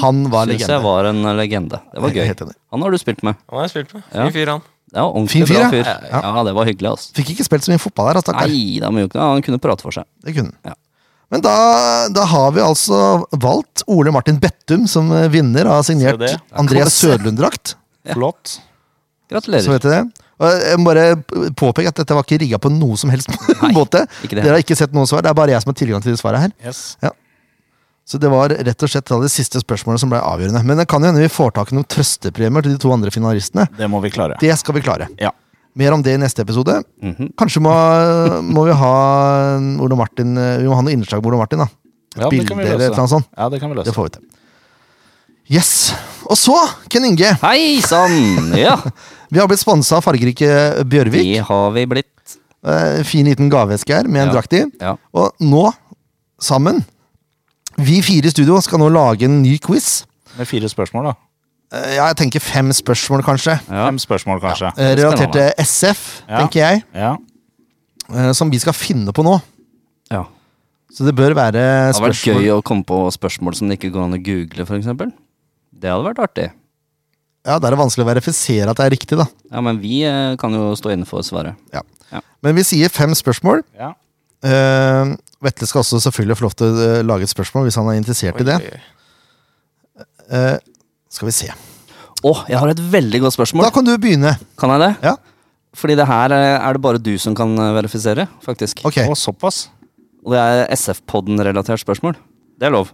S1: Han var
S2: Syns jeg
S1: legende.
S2: var en legende. Det var
S1: Jeg er
S2: gøy.
S1: helt enig.
S2: Han har du spilt med.
S4: Han har jeg spilt med.
S2: Ja.
S4: Fin fyr, han.
S2: Ja, ordentlig
S1: Fin fyr,
S2: bra
S1: ja.
S2: fyr.
S1: Ja.
S2: Ja, det var hyggelig, ass.
S1: Fikk ikke spilt så mye fotball her, altså, stakkar.
S2: Nei, da må jo ikke ja, Han kunne prate for seg.
S1: Det kunne han.
S2: Ja.
S1: Men da, da har vi altså valgt Ole Martin Bettum som eh, vinner av signert
S3: det.
S1: André Sødlund-drakt.
S3: Flott.
S1: Så
S2: Gratulerer.
S1: vet dere det. Og jeg må bare p- påpeke at dette var ikke rigga på noe som helst [laughs] måte.
S2: ikke det.
S1: Dere har ikke sett noen svar. Det er bare jeg som har tilgang til det svaret her.
S3: Yes.
S1: Så det var rett og slett da det siste spørsmålet som ble avgjørende. Men det kan jo hende vi får tak i noen trøstepremier til de to andre finalistene.
S3: Det må vi klare.
S1: Det skal vi klare.
S3: Ja.
S1: Mer om det i neste episode.
S2: Mhm.
S1: Kanskje må, må vi ha Ole Martin Vi må ha noe innslag med Ole Martin. da Et
S3: Ja, det
S1: bilde
S3: kan vi
S1: eller et eller
S3: løse.
S1: annet sånt.
S3: Ja, det kan vi
S1: Det
S3: løse.
S1: får vi til. Yes. Og så, Ken Inge.
S2: Hei sann!
S1: [laughs]
S2: Ja,
S1: Vi har blitt sponsa av fargerike Bjørvik.
S2: det har vi blitt.
S1: Eh, fin liten gaveeske her med en
S2: Ja.
S1: drakt i.
S2: Ja.
S1: Og nå, sammen Vi fire i studio skal nå lage en ny quiz.
S3: Med fire spørsmål, da.
S1: Eh, Ja, jeg tenker fem spørsmål, kanskje.
S2: Ja.
S3: Fem spørsmål, kanskje.
S1: Eh, Relatert til SF,
S3: Ja.
S1: tenker jeg.
S3: Ja.
S1: eh, Som vi skal finne på nå.
S2: ja.
S1: Så det bør være
S2: Det hadde vært
S1: spørsmål
S2: gøy å komme på spørsmål som det ikke går an å google, for eksempel Det hadde vært artig.
S1: Ja, Da er det vanskelig å verifisere at det er riktig, da.
S2: Ja, men vi eh, kan jo stå inne for svaret.
S1: Men vi sier fem spørsmål.
S3: ja.
S1: Eh, Vetle skal også selvfølgelig få lov til å eh, lage et spørsmål hvis han er interessert i det.
S4: Oi, oi.
S1: Eh, skal vi se.
S2: Å, jeg har et veldig godt spørsmål.
S1: Da kan du begynne.
S2: Kan jeg det?
S1: Ja.
S2: Fordi det her eh, er det bare du som kan eh, verifisere, faktisk.
S1: Ok.
S3: Og såpass.
S2: Og det er SF-podden-relatert spørsmål. Det er lov.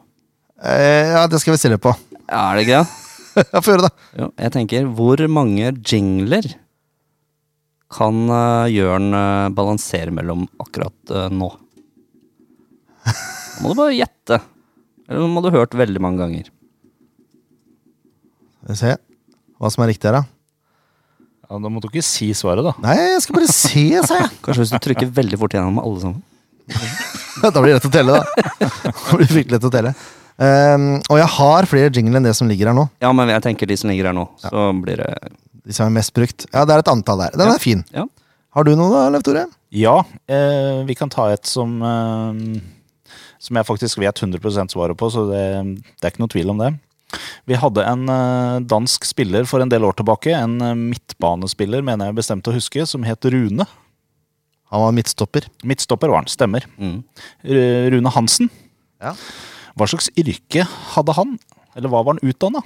S1: Eh, ja, det skal vi stille på. [laughs]
S2: Er det ikke det?
S1: Ja, Få høre, da.
S2: Jo, jeg tenker, hvor mange jingler kan uh, Jørn eh, balansere mellom akkurat eh, nå? Da må du bare gjette. Eller må du ha hørt veldig mange ganger.
S1: Skal vi se hva som er riktig her, da.
S3: Ja, da må du ikke si svaret, da.
S1: Nei, jeg skal bare se, sa jeg. [laughs]
S2: Kanskje hvis du trykker veldig fort gjennom alle sammen.
S1: Da blir det lett å telle, da. [laughs] Da blir det fryktelig lett å telle. Ehm, og jeg har flere jingler enn det som ligger her nå.
S2: Ja, men jeg tenker de som ligger her nå, så blir det
S1: De som er mest brukt. Ja, det er et antall der. Den
S2: Ja.
S1: er fin.
S2: Ja.
S1: Har du noe, da, Leif Tore?
S3: Ja, eh, vi kan ta et som eh, Som jeg faktisk vet 100 svaret på, så det, det er ikke noe tvil om det. Vi hadde en eh, dansk spiller for en del år tilbake. En eh, midtbanespiller, mener jeg bestemte å huske, som het Rune.
S1: Han var midtstopper.
S3: Midtstopper var han, stemmer.
S2: mm.
S3: R- Rune Hansen.
S1: Ja.
S3: Hva slags yrke hadde han? Eller hva var han utdanna?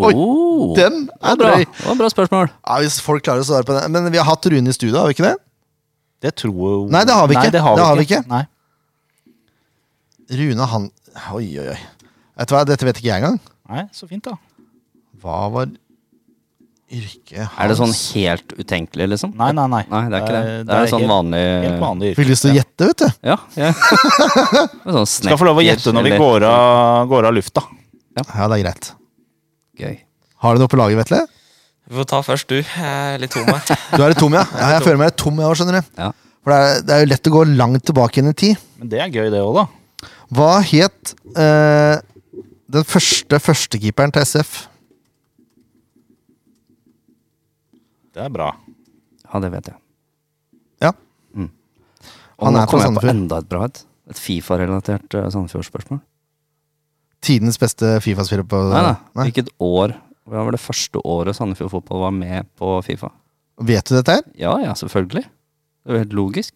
S1: Oi,
S2: Oh, det
S1: Den er
S2: var bra.
S1: drøy!
S2: Det var bra spørsmål.
S1: Ja, hvis folk klarer å svare på den. Men vi har hatt Rune i studio, har vi ikke det?
S3: Det tror
S1: Nei, det har vi ikke.
S3: det har vi, ikke. Nei.
S1: Rune han... Oi, oi, oi. Vet du hva, dette vet ikke jeg engang.
S3: Nei, så fint, da.
S1: Hva var yrket hans?
S2: Er det sånn helt utenkelig, liksom?
S3: Nei, nei, nei.
S2: Nei, det er ikke det.
S3: Eh,
S2: Det er, sånn
S3: helt,
S2: vanlig
S3: helt vanlig yrke.
S1: Fikk lyst til å gjette, vet du.
S2: Ja. ja.
S3: [laughs]
S2: Det er sånn
S3: Skal få lov å gjette når vi går av, går av lufta.
S1: Ja, det er greit.
S2: Gøy.
S1: Har du noe på laget, Vetle?
S4: Vi får ta først du. Jeg er litt tom
S1: [laughs]
S4: her.
S1: Du er litt tom, ja? ja jeg føler meg litt tom, jeg òg, skjønner du.
S2: Ja.
S1: For det er, det er jo lett å gå langt tilbake igjen i tid.
S3: Men det er gøy, det òg, da.
S1: Hva het eh, den første førstekeeperen til SF?
S3: Det er bra.
S2: Ja, det vet jeg.
S1: Ja.
S2: Mm. Og
S1: Han
S2: nå
S1: er fra
S2: kom jeg på
S1: Sandefjord.
S2: enda et bra et. Et Fifa-relatert eh, Sandefjord-spørsmål.
S1: Tidens beste Fifa-spiller på
S2: Nei, nei.
S1: Nei.
S2: Hvilket år Hva var det første året Sandefjord fotball var med på Fifa?
S1: Vet du dette her?
S2: Ja ja, selvfølgelig. Det er jo helt logisk.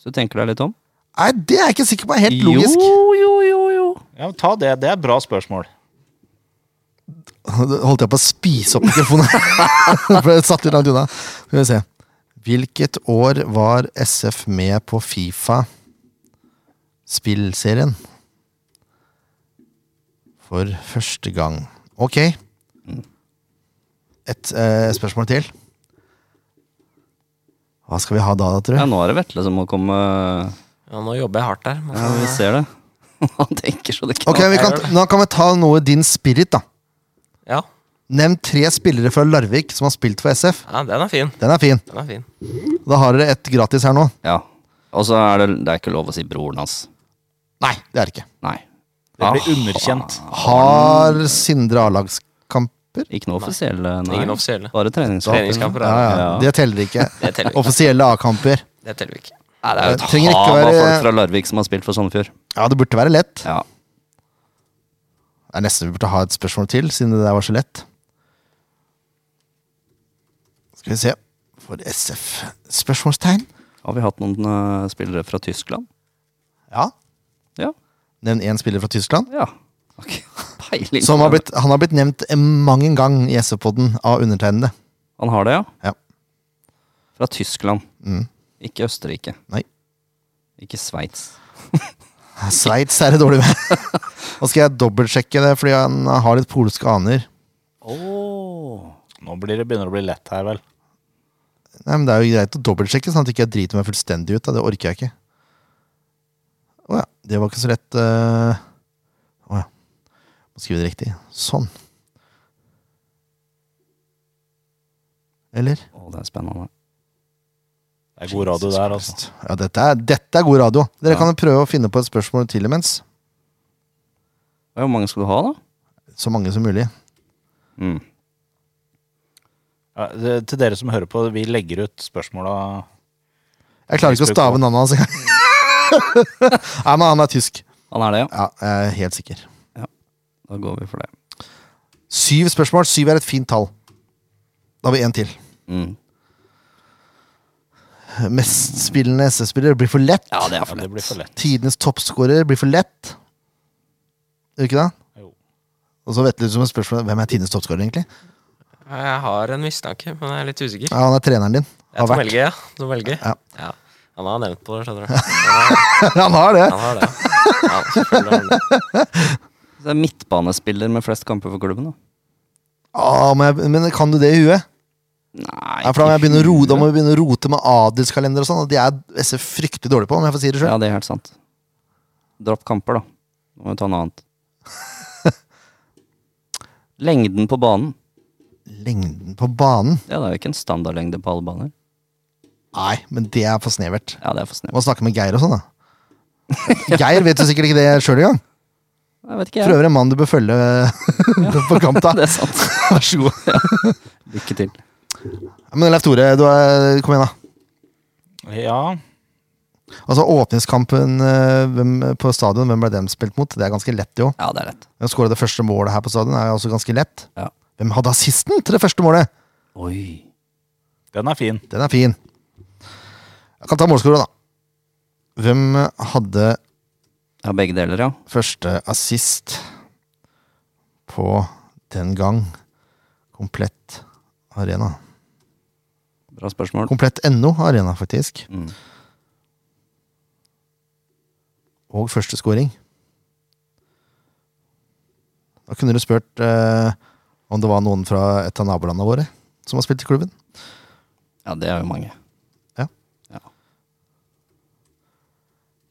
S2: Så tenker deg litt om.
S1: Nei, det er jeg ikke sikker på. er Helt logisk.
S2: Jo, jo, jo, jo.
S3: Ja, men ta det. Det er bra spørsmål.
S1: Holdt jeg på å spise opp mikrofonen? [laughs] For det satt litt langt unna. Skal vi se. Hvilket år var SF med på Fifa-spillserien? For første gang. Ok. Et eh, spørsmål til. Hva skal vi ha da, tror
S2: Ja,
S1: du?
S2: nå er det Vetle som må komme
S4: Ja, nå jobber jeg hardt der. men-
S2: Ja, vi ser det. [laughs] Han tenker så det
S1: Ok,
S2: knaker.
S1: vi kan, Nå kan vi ta noe din spirit, da.
S4: Ja.
S1: Nevn tre spillere fra Larvik som har spilt for SF.
S4: ja, den er fin.
S1: Den er fin.
S4: Den er fin.
S1: Da har dere et gratis her nå.
S2: Ja. Og så er det Det er ikke lov å si broren hans.
S1: Nei, det er det ikke.
S2: Nei.
S3: Det blir underkjent.
S1: Har Sindre A-lagskamper?
S2: Ikke noe offisielle, nei.
S4: Ingen offisielle.
S2: Bare treningskamp.
S4: Treningskamper
S1: Ja,
S4: er det.
S1: ja.
S2: Ja.
S1: Det teller ikke.
S4: Det teller ikke.
S1: Offisielle A-kamper.
S4: Det teller vi ikke.
S2: Nei, det er jo et
S1: Trenger ikke
S2: hav av
S1: være-
S2: folk fra Larvik som har spilt for Sandefjord.
S1: Ja, det burde være lett.
S2: Ja.
S1: Det er nesten vi burde ha et spørsmål til, siden det der var så lett. Skal vi se. For SF Spørsmålstegn?
S2: Har vi hatt noen eh, spillere fra Tyskland?
S1: Ja.
S2: Ja.
S1: Nevn én spiller fra Tyskland.
S2: ja. Ok. [laughs] Peiling.
S1: Som har blitt, han har blitt nevnt mang en gang i SF-podden av undertegnede.
S2: Han har det,
S1: Ja.
S2: ja? Fra Tyskland.
S1: Mm.
S2: Ikke Østerrike.
S1: Nei.
S2: Ikke Sveits.
S1: Sveits er det dårlig med. [laughs] Nå skal jeg dobbeltsjekke det, fordi han har litt polske aner.
S2: Oh.
S3: Nå blir det, begynner det å bli lett her, vel.
S1: Nei, men Det er jo greit å dobbeltsjekke, sånn at jeg ikke driter meg fullstendig ut. Da. Det orker jeg ikke. Å ja. Det var ikke så lett. eh. Å ja. Må skrive det riktig. Sånn. Eller?
S2: det er spennende.
S3: Det er god radio der, altså.
S1: Ja, dette er, dette er god radio. Dere
S2: Ja.
S1: kan jo prøve å finne på et spørsmål til imens.
S2: Ja, Hvor mange skal du ha, da?
S1: Så mange som mulig.
S2: Mm.
S3: Ja, det- til dere som hører på, vi legger ut spørsmåla
S1: Jeg klarer ikke å stave navnet hans engang. [laughs] Nei, men han er tysk.
S2: Han er det, ja.
S1: Ja, jeg er helt sikker.
S2: Da går vi for det.
S1: Syv spørsmål. Syv er et fint tall. Da har vi én til.
S2: Mm.
S1: Mestspillende SS-spiller blir for lett.
S2: Ja, det er
S3: Ja,
S2: for
S3: det blir
S2: lett.
S3: for lett.
S1: Tidenes toppskårer blir for lett. Gjør ikke det?
S3: Jo.
S1: Og så vet du som et spørsmål Hvem er tidenes toppskårer, egentlig?
S4: Jeg har en mistanke, men jeg er litt usikker.
S1: Ja, han er treneren din.
S4: Jeg
S1: Har
S4: tar
S1: vært.
S4: Helge, ja. Tom Helge.
S1: Ja.
S4: Ja. Han har nevnt på det, skjønner du. Han har,
S1: [laughs] han har det!
S4: han har det. Ja, selvfølgelig har han det.
S2: Det er midtbanespiller med flest kamper for klubben, da.
S1: Å, men, jeg, men kan du det i huet?
S2: Nei,
S1: Ja, for da må jeg begynne å ro- da må
S2: huet.
S1: vi begynne å rote med adelskalender og sånn, og det er SF fryktelig dårlig på, om jeg får si det sjøl.
S2: Ja, det er helt sant. Dropp kamper, da. Nå må vi ta noe annet. [laughs] Lengden på banen.
S1: Lengden på banen?
S2: Ja, det er jo ikke en standardlengde på alle baner.
S1: Nei, men det er for snevert.
S2: Ja, det er for snevert.
S1: Må snakke med Geir og
S2: [laughs]
S1: sånn, da. Geir vet jo sikkert ikke det sjøl engang.
S2: Jeg vet ikke, jeg.
S1: For øvrig en mann du bør følge [laughs] på kamp, da.
S2: [laughs] Det er sant.
S1: Vær så god.
S2: Lykke til.
S1: Men Leif Tore, du er, kom igjen, da.
S3: Ja,
S1: Altså Åpningskampen eh, hvem, på stadion, hvem ble den spilt mot? Det er ganske lett, jo.
S2: Ja, det er lett.
S1: Hvem skåra det første målet her på stadion? er jo også ganske lett.
S2: Ja.
S1: Hvem hadde assisten til det første målet?
S2: Oi.
S3: den er fin.
S1: Den er fin. Jeg kan ta målskåra, da. Hvem hadde
S2: Ja, begge deler, ja.
S1: første assist på den gang komplett arena?
S2: Bra spørsmål.
S1: Komplett NO arena, faktisk.
S2: Mm.
S1: og første scoring. Da kunne du spurt eh, om det var noen fra et av nabolandene våre som har spilt i klubben.
S2: Ja, det er jo mange.
S1: Ja.
S2: Ja.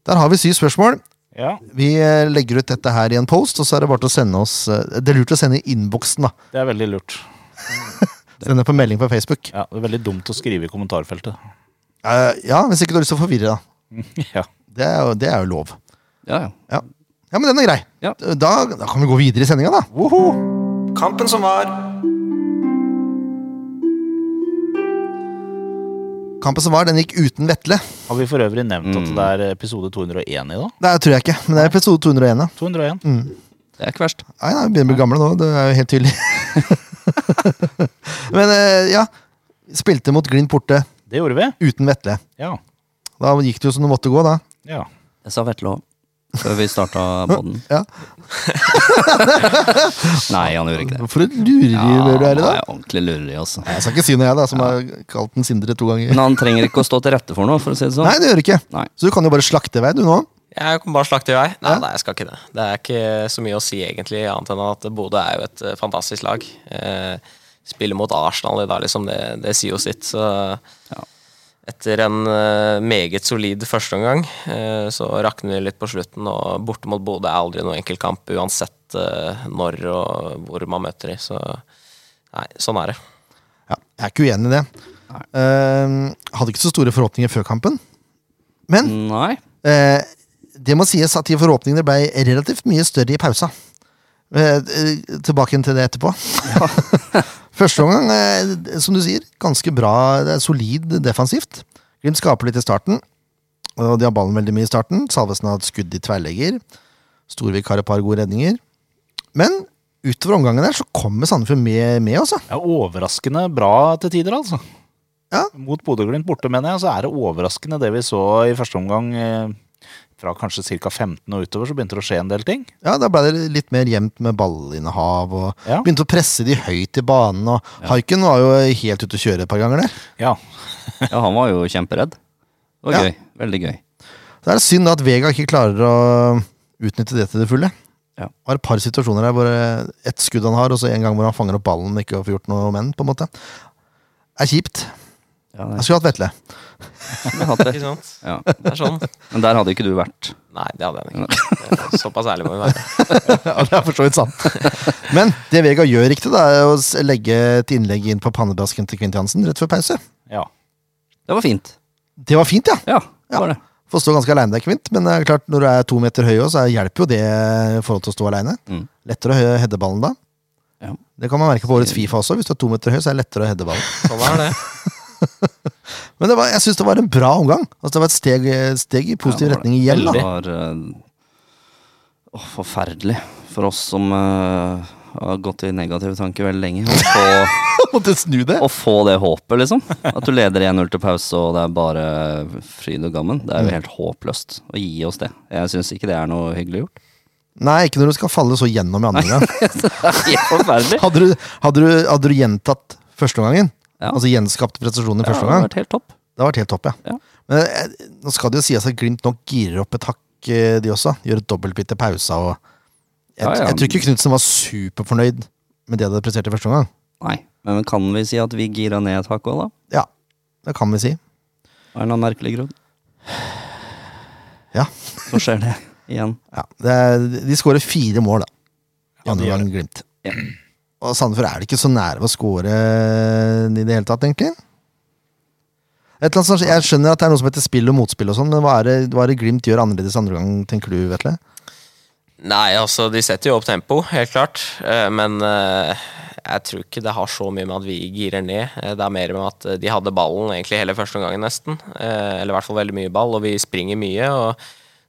S1: Der har vi syv spørsmål.
S3: Ja,
S1: Vi eh, legger ut dette her i en post, og så er det bare til å sende oss eh, Det er lurt å sende i innboksen, da.
S3: det er veldig lurt.
S1: Sende på melding på Facebook.
S3: Ja, det er veldig dumt å skrive i kommentarfeltet. [laughs]
S1: Eh, ja, hvis ikke du har lyst til å forvirre, da.
S3: Ja.
S1: Det er, jo, det er jo lov.
S2: Ja, ja.
S1: Ja, men den er grei.
S2: Ja.
S1: Da, da kan vi gå videre i sendinga, da.
S5: Kampen som var.
S1: Kampen som var, den gikk uten Vetle.
S3: Har vi for øvrig nevnt at det er episode 201 i dag?
S1: Det tror jeg ikke, men det er episode 201. da.
S3: 201.
S2: Mm. Det er ikke verst.
S1: Nei, nei, vi begynner å bli gamle nå, det er jo helt tydelig. [laughs] Men eh, ja, spilte mot Glimt borte
S3: Det gjorde vi.
S1: uten Vetle.
S3: Ja.
S1: Da gikk det jo som det måtte gå, da.
S3: ja.
S2: Jeg sa Vetle òg. Før vi starta båten.
S1: Ja.
S2: Nei, han gjorde
S1: [laughs]
S2: ikke det.
S1: For et lureri du er i
S2: han
S1: dag.
S2: er ordentlig lureri, altså.
S1: Jeg skal ikke si noe, jeg, da, som har kalt den Sindre to ganger.
S2: Men han trenger ikke å stå til rette for noe, for å si det sånn.
S1: Nei, det gjør du ikke.
S2: Nei.
S1: Så du kan jo bare slakte i vei, du nå.
S4: Jeg kan bare slakte i vei. Nei, nei, jeg skal ikke det. Det er ikke så mye å si, egentlig, annet enn at Bodø er jo et eh, fantastisk lag. Eh, spiller mot Arsenal i dag, liksom. Det, det sier jo sitt. Så
S2: Ja.
S4: etter en eh, meget solid førsteomgang, eh, så rakner det litt på slutten. Og borte mot Bodø er aldri noen enkel kamp, uansett eh, når og hvor man møter dem. Så nei, sånn er det.
S1: Ja, jeg er ikke uenig i det. Ehm, Eh, hadde ikke så store forhåpninger før kampen. Men
S2: Nei.
S1: eh, det må sies at de forhåpningene ble relativt mye større i pausa. Eh, eh, tilbake igjen til det etterpå. [laughs] Første omgang, eh, som du sier, ganske bra. Det er solid defensivt. Glimt skaper litt i starten. Og de har ballen veldig mye i starten. Salvesen har hatt skudd i tverrlegger. Storvik har et par gode redninger. Men utover omgangen der så kommer Sandefjord med, med også.
S3: Det er overraskende bra til tider, altså.
S1: Ja.
S3: Mot Bodø-Glimt borte, mener jeg, så er det overraskende det vi så i første omgang. eh, Fra kanskje ca. 15 og utover så begynte det å skje en del ting.
S1: Ja, Da ble det litt mer jevnt med ballinnehav. og
S3: Ja.
S1: Begynte å presse de høyt i banen. og Haiken var jo helt ute å kjøre et par ganger. der.
S3: Ja,
S2: Ja, han var jo kjemperedd. Det var
S1: Ja.
S2: gøy. Veldig gøy.
S1: Så er det synd da at Vega ikke klarer å utnytte det til det fulle.
S2: Ja.
S1: Har et par situasjoner der hvor eh, ett skudd han har, og så en gang hvor han fanger opp ballen og ikke får gjort noe med den. på en måte. er kjipt.
S2: Ja,
S1: Jeg skulle hatt Vetle.
S2: jeg hatt det.
S4: Ikke sant?
S2: Ja.
S4: Det er sånn.
S2: Men der hadde ikke du vært.
S4: Nei, det hadde jeg [laughs] ikke. Eh, Såpass ærlig må vi være.
S1: [laughs] Ja, det er for så vidt sant. [laughs] Men det Vega gjør riktig, da, er å s- legge et innlegg inn på pannebrasken til Kvint Jansen rett før pause.
S3: ja.
S2: Det var fint.
S1: Det var fint, ja.
S2: Ja, det var det.
S1: Får stå ganske aleine der, Kvint, men det er klart når du er to meter høy, også, så hjelper jo det i forhold til å stå aleine.
S2: Mm.
S1: Lettere å hø- heade ballen da.
S2: Ja.
S1: Det kan man merke på årets Fifa også. Hvis du er to meter høy, så er det lettere å heade
S2: [laughs]
S1: ballen.
S4: Sånn er det.
S1: [laughs] Men det var, jeg syns det var en bra omgang. Altså, det var et steg, steg i positiv
S2: Ja, det var det.
S1: retning igjen.
S2: Det
S1: Da.
S2: var eh, åh, forferdelig for oss som eh, har gått i negative tanker veldig lenge. Å få,
S1: [laughs]
S2: [laughs]
S1: Måtte snu det.
S2: å få det håpet, liksom. At du leder 1-0 til pause, og det er bare fryd og gammen.
S1: Mm.
S2: Det er jo helt håpløst å gi oss det. Jeg syns ikke det er noe hyggelig gjort. [laughs]
S1: Nei, ikke når du skal falle så gjennom i andre gang.
S2: det er helt forferdelig.
S1: Hadde du, hadde du, hadde du gjentatt førsteomgangen,
S2: Ja.
S1: altså gjenskapt prestasjonen i
S2: Ja, det
S1: første
S2: hadde
S1: omgang,
S2: vært helt topp.
S1: det hadde vært helt topp, ja.
S2: Ja.
S1: Men eh, nå skal det jo sies at Glimt nok girer opp et hakk, eh, de også. Gjør et dobbeltbitt til pausa og jeg,
S2: Ja, ja.
S1: jeg tror ikke Knutsen var superfornøyd med det de presterte i første omgang.
S2: Nei, men kan vi si at vi gira ned et hakk òg, da?
S1: Ja, det kan vi si.
S2: Av en eller annen merkelig grunn.
S1: Ja.
S2: Så skjer det igjen.
S1: Ja, det er, de skårer fire mål, da. I
S3: Ja, de
S1: andre
S3: gjør
S1: gang Glimt.
S2: Ja.
S1: Og Sandefjord er det ikke så nære ved å skåre eh, i det hele tatt, egentlig. Et eller annet, som- jeg skjønner at det er noe som heter spill og motspill, og sånn, men hva er, det, hva er det Glimt gjør annerledes andre gang, tenker du, Vetle?
S4: Nei, altså, de setter jo opp tempo, helt klart. Eh, Men eh, jeg tror ikke det har så mye med at vi girer ned. Eh, Det er mer med at eh, de hadde ballen egentlig hele første omgangen, nesten. Eh, Eller i hvert fall veldig mye ball, og vi springer mye. Og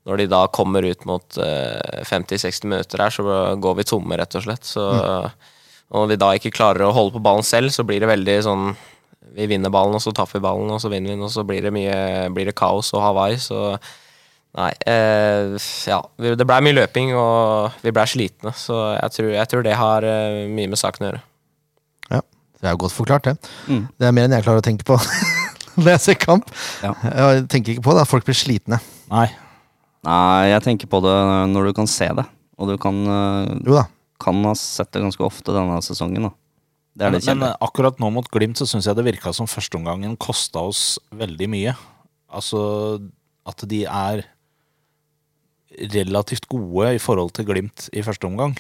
S4: når de da kommer ut mot eh, 50-60 minutter her, så går vi tomme, rett og slett. Så og når vi da ikke klarer å holde på ballen selv, så blir det veldig sånn Vi vinner ballen, og så tapper vi ballen, og så vinner vi den, og så blir det mye blir det kaos og Hawaii, så Nei. Eh, ja. vi- Det blei mye løping, og vi blei slitne. Så jeg tror, jeg tror det har eh, mye med saken å gjøre.
S1: Ja, det er jo godt forklart, det.
S2: Mm.
S1: Det er mer enn jeg klarer å tenke på [laughs] når jeg ser kamp.
S2: Ja.
S1: Jeg tenker ikke på det, at folk blir slitne.
S3: Nei.
S2: Nei, jeg tenker på det når du kan se det. Og du kan, eh,
S1: Jo da.
S2: kan ha sett det ganske ofte denne sesongen. Da. Det er litt
S3: Men
S2: kjedelig.
S3: eh, akkurat nå mot Glimt så syns jeg det virka som førsteomgangen kosta oss veldig mye. Altså at de er relativt gode i forhold til Glimt i første omgang.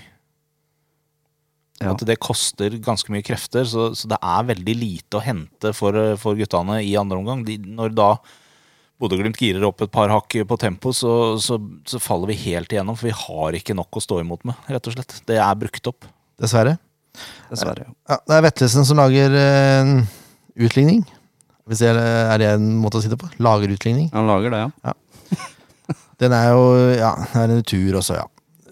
S2: Ja.
S3: At det koster ganske mye krefter, så, så det er veldig lite å hente for, eh, for guttene i andre omgang. De, når da Bodø-Glimt girer opp et par hakk på tempo, så, så, så faller vi helt igjennom. For vi har ikke nok å stå imot med, rett og slett. Det er brukt opp.
S1: Dessverre.
S2: eh, Dessverre.
S1: Ja, det er Vetlesen som lager eh, utligning. Hvis det er er det en måte å si det på? Lager utligning.
S2: Han lager det, ja.
S1: Den er jo Ja, det er en tur også, ja.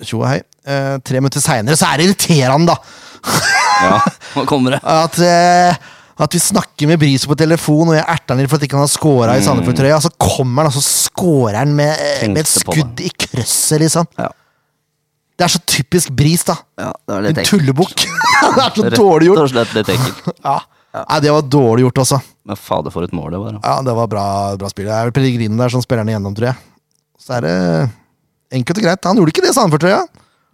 S1: Tjo og hei. Eh, tre minutter seinere så er det irriterende, da!
S2: ja. [laughs] Nå kommer det.
S1: At, eh, at vi snakker med Bris på telefon, og jeg erter han litt for at ikke han har scora
S2: Mm.
S1: i Sandefjord-trøya. Så kommer han, og så scorer han med, eh, med et
S2: Tenkte på
S1: skudd i krøsset, liksom.
S2: Ja.
S1: Det er så typisk Bris, da.
S2: Ja, det er
S1: En tullebukk. [laughs] det er så dårlig
S2: Rett
S1: gjort.
S2: og slett litt ekkelt.
S1: Ja. Nei, det var dårlig gjort også.
S2: Men fader, for et mål det var. da.
S1: Ja, det var bra, bra spill. Det er vel Pellegrino der som spiller den igjennom, tror jeg. Så er det enkelt og greit. Han gjorde ikke det i Sandefjord-trøya.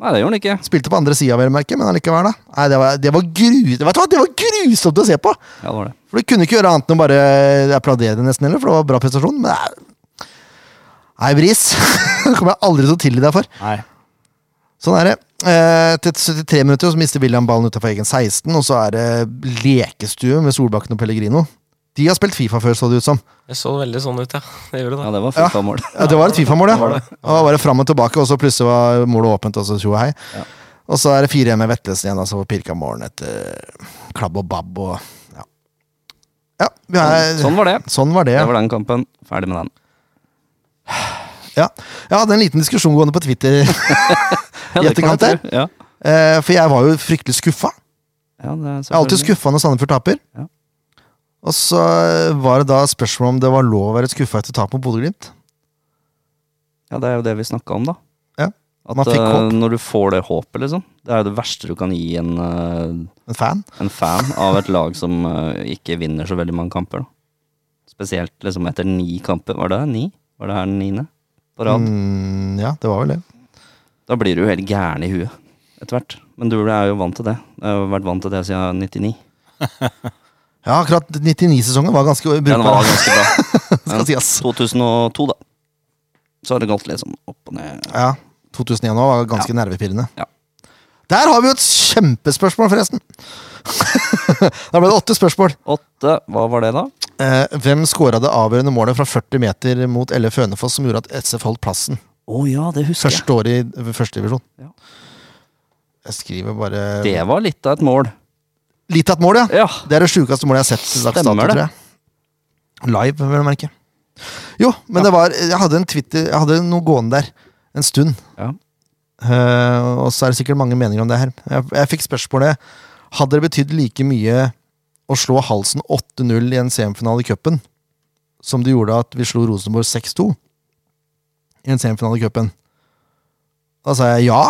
S2: Nei, det gjorde han ikke.
S1: Spilte på andre sida, vel å merke, men allikevel, da. Nei, det var, det var, gru, vet du hva? det var grusomt å se på!
S2: Ja, det var det.
S1: For Du kunne ikke gjøre annet enn å bare applaudere det, nesten, heller, for det var bra prestasjon. Men nei, nei Bris. [laughs] Det kommer jeg aldri til å tilgi deg for.
S3: Nei.
S1: Sånn er det. Eh, til 73 minutter så mister William ballen utenfor egen 16, og så er det lekestue med Solbakken og Pellegrino. De har spilt Fifa før, så det ut som.
S4: Det så veldig sånn ut, ja. [laughs] Det gjorde
S2: Ja,
S4: det.
S2: det var Fifa-mål.
S1: Ja, det var et Fifa-mål, ja. Og da var det fram og tilbake, og så plutselig var målet åpent, og så tjo og hei.
S2: Ja.
S1: Og så er det 4-1 med Vetlesen igjen, altså, og så pirka målen etter klabb og babb og Ja. ja vi er, sånn,
S2: Sånn var det.
S1: var det.
S2: Det var den kampen. Ferdig med den.
S1: Ja. Jeg hadde en liten diskusjon gående på Twitter, [laughs]
S2: Ja, det kan
S1: etterkant
S2: jeg tro. Ja.
S1: eh, for jeg var jo fryktelig skuffa.
S2: Ja, det er
S1: Jeg er alltid
S2: selvfølgelig.
S1: skuffa når Sandefjord taper.
S2: Ja.
S1: Og så var det da spørsmål om det var lov å være skuffa etter tap mot Bodø-Glimt.
S2: Ja, det er jo det vi snakka om, da.
S1: Ja,
S2: At
S1: man fikk
S2: eh,
S1: håp.
S2: når du får det håpet, liksom. Det er jo det verste du kan gi en, eh,
S1: En fan.
S2: en fan av et lag som eh, ikke vinner så veldig mange kamper, da. Spesielt liksom etter ni kamper. Var det ni? Var det her den niende på rad?
S1: Mm, ja, det var vel det.
S2: Da blir du jo helt gæren i huet etter hvert. Men du er jo vant til det. Jeg har jo vært vant til det siden 99.
S1: Ja, akkurat 99-sesongen var ganske
S2: Den var
S1: brukbar.
S2: ganske bra.
S1: [laughs] Skal sies.
S2: 2002, da. Så har det gått litt sånn opp og ned.
S1: Ja, 2001 også var ganske nervepirrende.
S2: Ja.
S1: Der har vi jo et kjempespørsmål, forresten! [laughs] da ble det åtte spørsmål.
S2: Åtte, hva var det da?
S1: Eh, hvem skåra det avgjørende målet fra 40 meter mot Elle Fønefoss som gjorde at SF holdt plassen
S2: Å ja, det husker jeg.
S1: første året i førstedivisjon?
S2: Ja.
S1: Jeg skriver bare
S2: Det var litt av et mål.
S1: Litt av et mål, ja!
S2: Ja.
S1: Det er det sjukeste målet jeg har sett. til dags dato,
S2: Stemmer det.
S1: tror jeg. Live, vil jeg merke. Jo, men det var Jeg hadde en Twitter Jeg hadde noe gående der en stund.
S2: Ja.
S1: Eh, og så er det sikkert mange meninger om det her. Jeg, jeg fikk spørsmålet Hadde det betydd like mye å slå halsen 8-0 i en semifinale i cupen som det gjorde at vi slo Rosenborg 6-2 i en semifinale i cupen? Da sa jeg ja.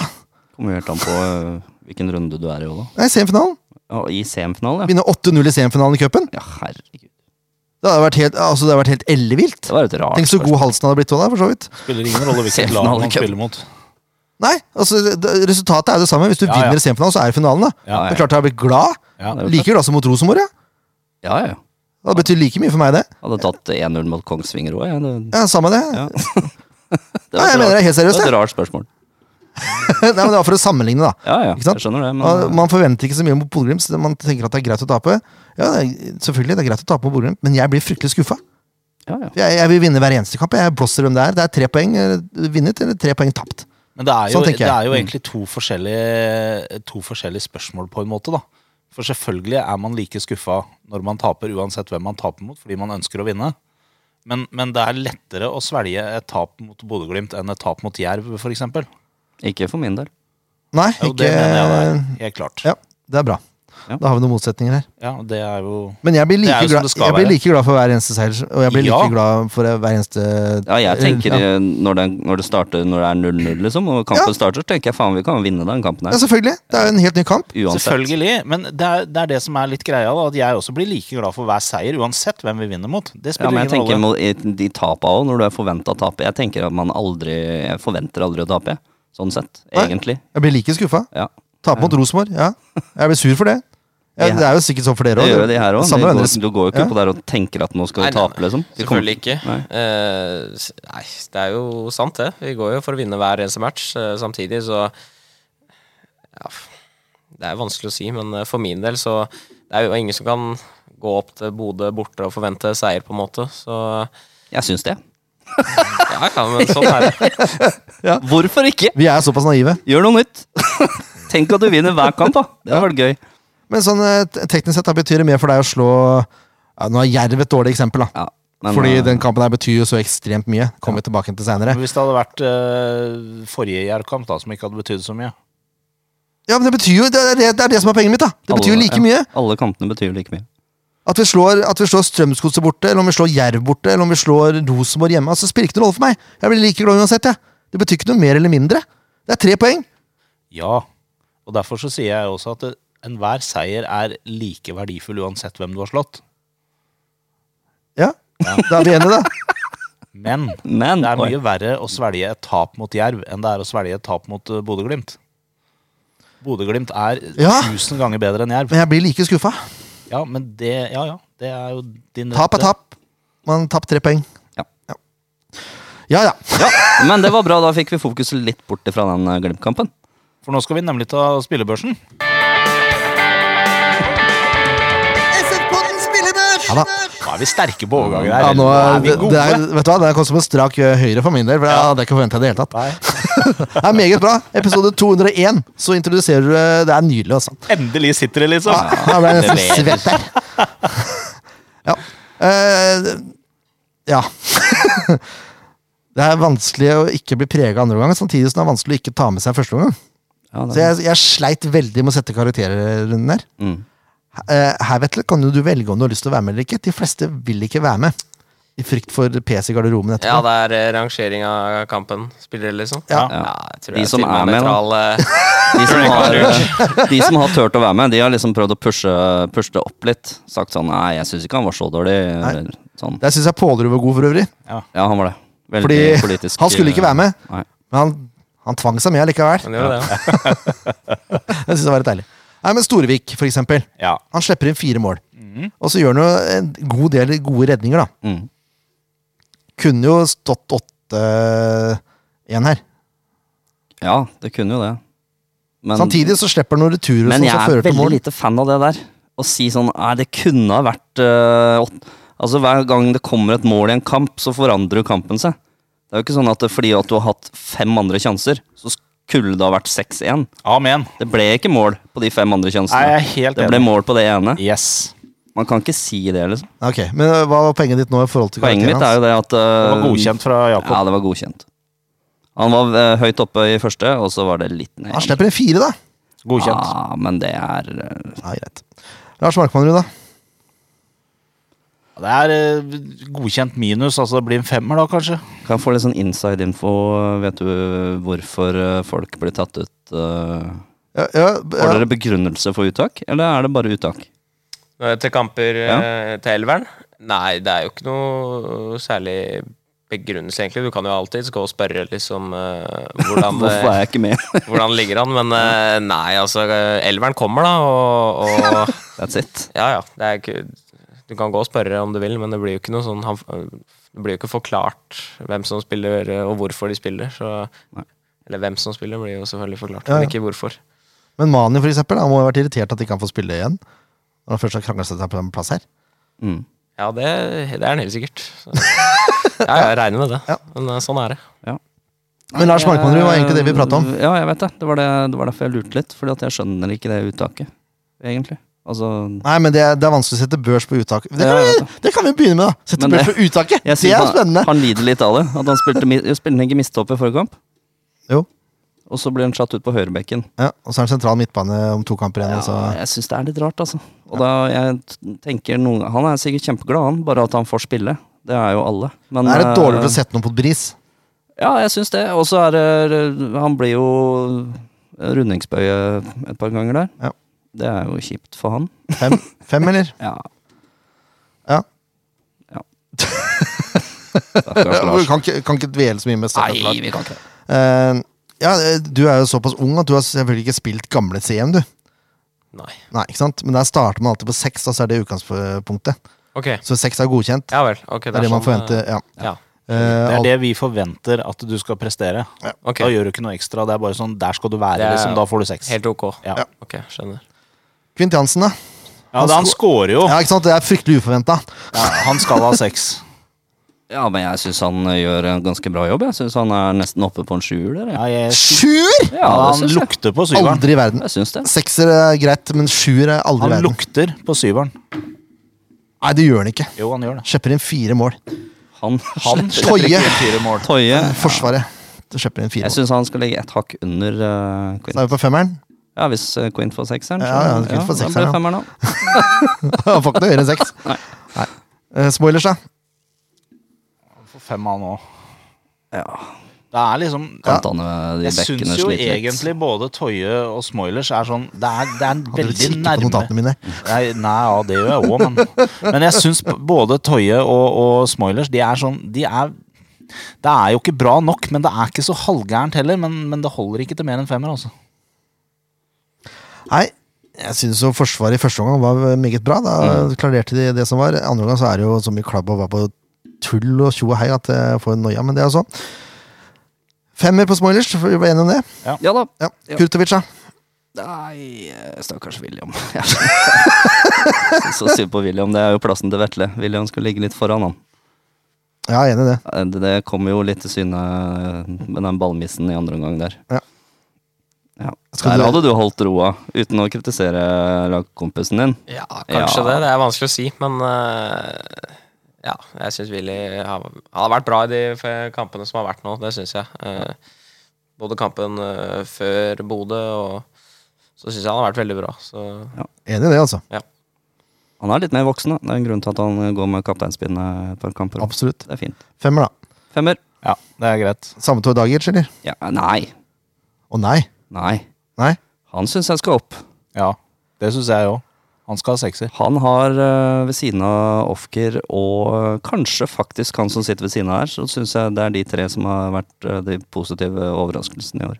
S2: Kommer jo helt
S1: [laughs]
S2: an på øh, hvilken runde du er i òg, da.
S1: Nei, semifinalen.
S2: Ja, I semifinalen, ja.
S1: Vinne 8-0 i semifinalen i cupen.
S2: Ja, herregud.
S1: Det hadde vært helt, altså, det hadde vært helt ellevilt.
S2: Det var et rart
S1: Tenk så god halsen hadde blitt òg, for så vidt.
S3: Spiller ingen rolle hvilket lag man spiller mot.
S1: Nei, altså det- Resultatet er jo det samme. Hvis du
S3: Ja, ja.
S1: vinner i semifinalen, så er det finalen. da
S3: Ja,
S1: Det er klart jeg har blitt glad.
S3: Ja.
S1: Like glad som mot Rosenborg. Ja.
S2: Ja, ja.
S1: Det betyr like mye for meg, det.
S2: Hadde tatt 1-0 mot Kongsvinger òg, jeg. Det,
S1: Ja, samme det.
S2: ja. det
S1: Nei, jeg mener det er helt
S2: det
S1: seriøst.
S2: var
S1: jeg.
S2: et rart spørsmål.
S1: [laughs] Nei, men det var for å sammenligne, da.
S2: Ja, ja.
S1: Ikke sant?
S2: Jeg skjønner
S3: Mm.
S2: det, men eh,
S1: Og Man forventer ikke så mye mot Bodø-Glimt. så Man tenker at det er greit å tape. Ja, det er, selvfølgelig, det er greit å tape mot Bodø-Glimt, men jeg blir fryktelig skuffa.
S2: ja, ja.
S1: Jeg, jeg vil vinne hver eneste kamp. Jeg blåser hvem det er. Det er tre poeng eh, vunnet eller tre poeng tapt.
S3: Men det er jo,
S1: Sånn tenker jeg.
S3: det er
S2: Mm.
S3: jo egentlig to forskjellige, to forskjellige spørsmål, på en måte. da. For selvfølgelig er man like skuffa når man taper, uansett hvem man taper mot, fordi man ønsker å vinne. Men, men det er lettere å svelge et tap mot Bodø-Glimt enn et tap mot Jerv, f.eks.
S2: Ikke for min del.
S1: Nei,
S3: Jo,
S1: ikke
S3: det mener jeg det er. Helt klart.
S1: Ja, det er bra.
S2: Ja.
S1: Da har vi noen motsetninger her.
S3: Ja, det er jo
S1: Men jeg blir
S3: Det
S1: like,
S3: er jo som
S1: glad,
S3: det skal
S1: jeg blir
S3: være.
S1: like glad for hver eneste seier. Og jeg blir
S3: Ja.
S1: like glad for hver eneste
S2: Ja, jeg tenker
S1: ja.
S2: eh, Når, det, når det starter Når det er 0-0, liksom, og kampen starter, så tenker jeg faen, vi kan vinne den kampen
S1: ja,
S2: her.
S1: selvfølgelig. Det er jo en helt ny kamp.
S2: Uansett.
S3: Selvfølgelig, men det er, det er det som er litt greia, da, at jeg også blir like glad for hver seier, uansett hvem vi vinner mot. Det
S2: Ja,
S3: spiller
S2: men jeg tenker
S3: ingen
S2: mot-
S3: rolle.
S2: i de tapa òg, når du er forventa å tape. Jeg tenker at man aldri Jeg forventer aldri å tape, jeg. sånn sett.
S1: Nei.
S2: Egentlig.
S1: Jeg blir like skuffa.
S2: Ja.
S1: Tape mot Rosenborg, ja. Jeg blir sur for det. Ja,
S2: Ja.
S1: det er jo sikkert sånn for dere
S2: Det gjør
S1: òg.
S2: jo de her òg.
S1: Samme venner.
S2: Du går jo ikke
S1: Ja.
S2: på der og tenker at nå skal
S4: Nei,
S2: vi
S4: nei,
S2: tape, liksom. Vi kommer-
S4: Selvfølgelig ikke.
S2: Nei.
S4: Eh, s- nei, det er jo sant, det. Vi går jo for å vinne hver eneste match. eh, samtidig, så ja, f- Det er vanskelig å si, men eh, for min del så Det er jo ingen som kan gå opp til Bodø borte og forvente seier, på en måte. Så
S2: Jeg syns det.
S4: ja, ja men sånn
S2: [laughs]
S4: er det.
S2: Hvorfor ikke?
S1: Vi er såpass naive.
S2: Gjør
S1: [laughs]
S2: noe nytt. Tenk at du vinner hver kamp, da. Det hadde vært gøy.
S1: Men sånn eh, te- teknisk sett da betyr det mer for deg å slå ja, Nå er Jerv et dårlig eksempel, da.
S2: Ja, men,
S1: Fordi
S2: eh,
S1: den kampen her betyr jo så ekstremt mye. Kommer vi tilbake til seinere.
S3: Hvis det hadde vært eh, forrige Jerv-kamp, da, som ikke hadde betydd så mye.
S1: Ja, men det betyr jo Det er det, det, er det som er poenget mitt, da. Det betyr jo
S2: alle-
S1: like
S2: ja,
S1: mye.
S2: Alle kampene betyr like mye.
S1: At vi slår, at vi slår Strømsgodset borte, eller om vi slår Jerv borte, eller om vi slår Rosenborg hjemme, altså, spiller ikke noen rolle for meg. Jeg blir like glad uansett, jeg. Det betyr ikke noe mer eller mindre. Det er tre poeng.
S3: Ja. Og derfor så sier jeg også at det- enhver seier er like verdifull uansett hvem du har slått.
S1: Ja, Da er vi enige, da.
S3: Men det
S2: Men
S3: er
S2: oi,
S3: mye verre å svelge et tap mot Jerv enn det er å svelge et tap mot eh, Bodø-Glimt. Bodø-Glimt er
S1: Ja.
S3: tusen ganger bedre enn Jerv.
S1: Men jeg blir like skuffa.
S3: Ja, men det Ja, ja. Det er jo din
S1: Tap er
S3: rette-
S1: tap. Man har tapt tre poeng.
S2: Ja.
S1: Ja ja. ja.
S2: ja, men det var bra. Da fikk vi fokuset litt bort fra den eh, Glimt-kampen.
S3: For nå skal vi nemlig ta spillebørsen.
S5: SF-podden spillebørs!
S1: Ja da.
S3: Nå er vi sterke på overgangen her.
S1: Ja, nå,
S3: Nå
S1: er-
S3: er vi
S1: det,
S3: gode.
S1: det er, vet du hva, det kom som en strak ø, høyre for min del. For jeg hadde ikke forventet det i det hele tatt.
S3: Nei.
S1: [laughs] Det er meget bra. Episode 201, så introduserer du ø, Det er nydelig, altså.
S3: Endelig sitter det, liksom.
S1: Ja, da ble jeg nesten svett der. [laughs] Ja. Eh, ja. [laughs] Det er vanskelig å ikke bli prega andre omgang, samtidig som det er vanskelig å ikke ta med seg første omgang.
S2: Ja,
S1: Så
S2: det,
S1: jeg, jeg sleit veldig med å sette karakterrunden der.
S2: mm.
S1: Eh, Her vet du, kan jo du velge om du har lyst til å være med eller ikke. De fleste vil ikke være med. I frykt for PC i garderoben
S4: Ja,
S1: etterpå.
S4: det er eh, rangering av kampen. Spillere, liksom.
S1: Ja.
S4: ja jeg tror
S2: De
S4: jeg
S2: som
S4: til og
S2: er
S4: med
S2: med, da.
S4: nøytral,
S2: [laughs]
S4: eh,
S2: De som, har, eh, de som har turt å være med, de har liksom prøvd å pushe, pushe det opp litt. Sagt sånn Nei, jeg syns ikke han var så dårlig. Eller, sånn.
S1: Der syns jeg Pålerud var god, for øvrig.
S2: Ja, han var det. Veldig
S1: Fordi
S2: politisk. eh,
S1: han skulle ikke være med,
S2: Nei.
S1: men han, han tvang seg med allikevel.
S4: men gjør det, ja.
S1: Jeg synes det var litt deilig. Nei, men Storevik, for eksempel.
S3: Ja.
S1: Han slipper inn fire mål.
S2: Mhm.
S1: Og så gjør han jo en god del gode redninger, da.
S2: Mm.
S1: Kunne jo stått 8-1 her.
S2: Ja, det kunne jo det. Men,
S1: Samtidig så slipper han noen returer
S2: men
S1: som,
S3: sånn
S2: jeg
S1: som
S2: er
S1: fører til
S2: veldig
S1: mål.
S2: lite fan av det der. Å si sånn Nei, det kunne ha vært eh, åt- Altså, hver gang det kommer et mål i en kamp, så forandrer jo kampen seg. Det er jo ikke sånn at det, fordi at du har hatt fem andre sjanser, så skulle det ha vært 6-1.
S3: Amen.
S2: Det ble ikke mål på de fem andre sjansene.
S3: Nei, jeg er helt
S2: Det ble
S3: enig.
S2: mål på det ene.
S3: Yes.
S2: Man kan ikke si det, liksom.
S1: Ok, Men øh, hva var poenget ditt nå? i forhold til
S2: Poenget mitt er jo det at
S3: Det
S2: uh,
S3: var godkjent fra Jakob.
S2: Ja, det var godkjent. Han var uh, høyt oppe i første, og så var det litt ned.
S1: Han slipper inn fire, da!
S3: Godkjent.
S2: Ja, men det er uh,
S1: Ja, greit. Lars Markmannrud, da?
S3: Det er eh, godkjent minus, altså det blir en femmer da, kanskje.
S2: Kan jeg få litt sånn inside info? Vet du hvorfor uh, folk blir tatt ut? Uh,
S1: Ja, ja,
S2: har
S1: ja.
S2: dere begrunnelse for uttak, eller er det bare uttak?
S4: Nå er det Til kamper
S2: Ja.
S4: eh, til elveren? Nei, det er jo ikke noe særlig begrunnelse, egentlig. Du kan jo alltids gå og spørre liksom eh, hvordan det
S2: [laughs] Hvorfor er jeg ikke med?
S4: Hvordan ligger han? Men eh, nei, altså, eh, elveren kommer, da, og, og
S2: That's it.
S4: Ja, ja. Det er ikke Du kan gå og spørre om du vil, men det blir jo ikke noe sånn han, Det blir jo ikke forklart hvem som spiller, eh, og hvorfor de spiller, så
S2: Nei.
S4: Eller hvem som spiller, blir jo selvfølgelig forklart,
S1: Ja, ja.
S4: men ikke hvorfor.
S1: Men Mani, for eksempel. Han må ha vært irritert at ikke han får spille igjen. Når han først har krangla seg til en plass her.
S2: Mm.
S4: Ja, det, det er han helt sikkert.
S1: [laughs]
S4: Så. Ja, jeg regner med det.
S1: Ja.
S4: Men eh, sånn er det.
S1: Men Lars Markmannrud var egentlig det vi prata om.
S2: Ja, jeg vet det. Det var, det, det var derfor jeg lurte litt. Fordi at jeg skjønner ikke det uttaket, egentlig. Altså,
S1: Nei, men det er, det er vanskelig å sette børs på uttak. Det
S2: Ja,
S1: kan,
S2: jeg
S1: vi,
S2: vet
S1: det kan vi begynne med, da! Sette
S2: Men
S1: børs
S2: det-
S1: på uttaket!
S2: jeg
S1: Det
S2: sier
S1: er
S2: han-
S1: spennende!
S2: Han lider litt av det. At han spilte, mi- spilte ikke mistopp i forrige kamp.
S1: Jo.
S2: Og så blir han satt ut på høyrebekken.
S1: Ja, og så er det sentral midtbane om to kamper igjen. altså.
S2: Ja, jeg syns det er litt rart, altså. Og da, jeg t- tenker noen, Han er sikkert kjempeglad, han, bare at han får spille. Det er jo alle. Men,
S1: det er litt dårligere å
S2: eh,
S1: sette noen på et bris.
S2: Ja, jeg syns det. Og så er det Han blir jo rundingsbøye et par ganger der.
S1: Ja.
S2: Det er jo kjipt for han.
S1: Fem, fem eller? [laughs]
S2: Ja.
S1: Ja.
S2: ja. Stakkars
S1: Ja, vi
S2: Lars.
S1: kan, ikke, kan ikke dvele så mye med Stefan
S2: Nei,
S1: Lars.
S2: vi kan ikke det.
S1: Eh, ja, du er jo såpass ung at du har selvfølgelig ikke spilt gamle CM, du.
S4: Nei.
S1: Nei, ikke sant? Men der starter man alltid på seks, da, så er det utgangspunktet.
S4: Ok.
S1: Så seks er godkjent.
S4: Ja sånn, vel. ok,
S1: det er det man forventer. Ja.
S4: Ja.
S1: Eh,
S3: Det er
S1: alt-
S3: det vi forventer at du skal prestere.
S4: Ok.
S3: Da gjør du ikke noe ekstra, det er bare sånn, der skal du
S4: Det
S3: være,
S4: er-
S3: liksom, da får du seks.
S4: Helt ok.
S3: Ja.
S4: Ok, skjønner.
S1: Kvint Jansen, da.
S3: Ja, da, han scorer jo.
S1: Ja, ikke sant? Det er fryktelig uforventa.
S3: Ja, han skal ha seks.
S2: Ja, men jeg syns han eh, gjør en ganske bra jobb. Jeg syns han er nesten oppe på en sjuer der. jeg.
S3: Ja, jeg,
S1: Sjuer!
S2: Ja, det
S3: han
S2: syns jeg.
S3: lukter på syveren.
S1: Aldri i verden.
S2: Jeg syns det.
S1: [laughs] Sekser er greit, men sjuer er aldri i
S3: Han
S1: verden.
S3: lukter på syveren.
S1: Nei, det gjør han ikke.
S3: Jo, han gjør det.
S1: Kjøper inn fire mål.
S2: Han,
S3: Han
S1: Toye.
S2: han
S3: slipper ikke inn fire mål.
S2: Toye.
S1: Forsvaret. Du kjøper inn fire
S2: Jeg
S1: mål.
S2: syns han skal ligge et hakk under eh,
S1: Så er
S2: Quint.
S1: vi på femmeren. [laughs]
S2: Ja, hvis eh, Quint får sekseren,
S1: Ja, ja, Quint får
S2: da
S1: sekseren,
S2: blir
S1: ja.
S2: det femmeren, da.
S1: Han får ikke noe høyere enn seks.
S2: Nei.
S1: Eh, spoilers, da.
S3: For fem av han også.
S2: Ja,
S3: Det er liksom
S2: kan ta ned de
S3: Jeg
S2: bekkene
S3: syns jo
S2: sliter litt.
S3: egentlig både Toye og Smoilers er sånn Det er, det er
S1: Hadde du
S3: veldig
S1: kikket på
S3: nærme
S1: notatene mine?
S3: Nei, nei, ja, det gjør jeg òg, men, men jeg syns både Toye og, og Smoilers de er sånn de er, Det er jo ikke bra nok, men det er ikke så halvgærent heller. Men, men det holder ikke til mer enn femmer, altså.
S1: Nei, jeg synes jo forsvaret i første omgang var meget bra. Da klarerte de det som var. Andre omgang så er det jo så mye klabb og var på tull og tjo og hei at jeg får noia, men det er jo sånn. Femmer på Smoilers, for vi var enige om det.
S2: Ja da.
S1: Ja. Kurtovic, da.
S3: [laughs]
S2: Nei, eh, stakkars William. Så synd på William. Det er jo plassen til Vetle. William skulle ligge litt foran han.
S1: Ja, jeg er enig i det.
S2: Eh, Det det kommer jo litt til syne eh, med den ballmissen i andre omgang der.
S1: Ja.
S2: Ja.
S1: Skal du-
S2: Der hadde du holdt roa, uten å kritisere lagkompisen din.
S4: Ja, kanskje
S2: Ja.
S4: det. Det er vanskelig å si, men eh, ja, jeg syns Willy har, har vært bra i de f- kampene som har vært nå. Det syns jeg. Eh, både kampen eh, før Bodø og så syns jeg han har vært veldig bra. Så
S1: Enig i det, altså.
S2: Han er litt mer voksen, da. Det er en grunn til at han eh, går med kapteinspinnet et par kamper.
S1: Absolutt.
S2: Det er fint.
S1: Femmer, da.
S2: Femmer.
S3: Ja, det er greit.
S1: Samme to dager, eller?
S2: Ja, nei.
S1: Å nei.
S2: Nei.
S1: Nei?
S2: Han syns jeg skal opp.
S3: Ja, det syns jeg òg. Han skal ha sekser.
S2: Han har eh, ved siden av Ofker og eh, kanskje faktisk han som sitter ved siden av her, så syns jeg det er de tre som har vært eh, de positive overraskelsene i år.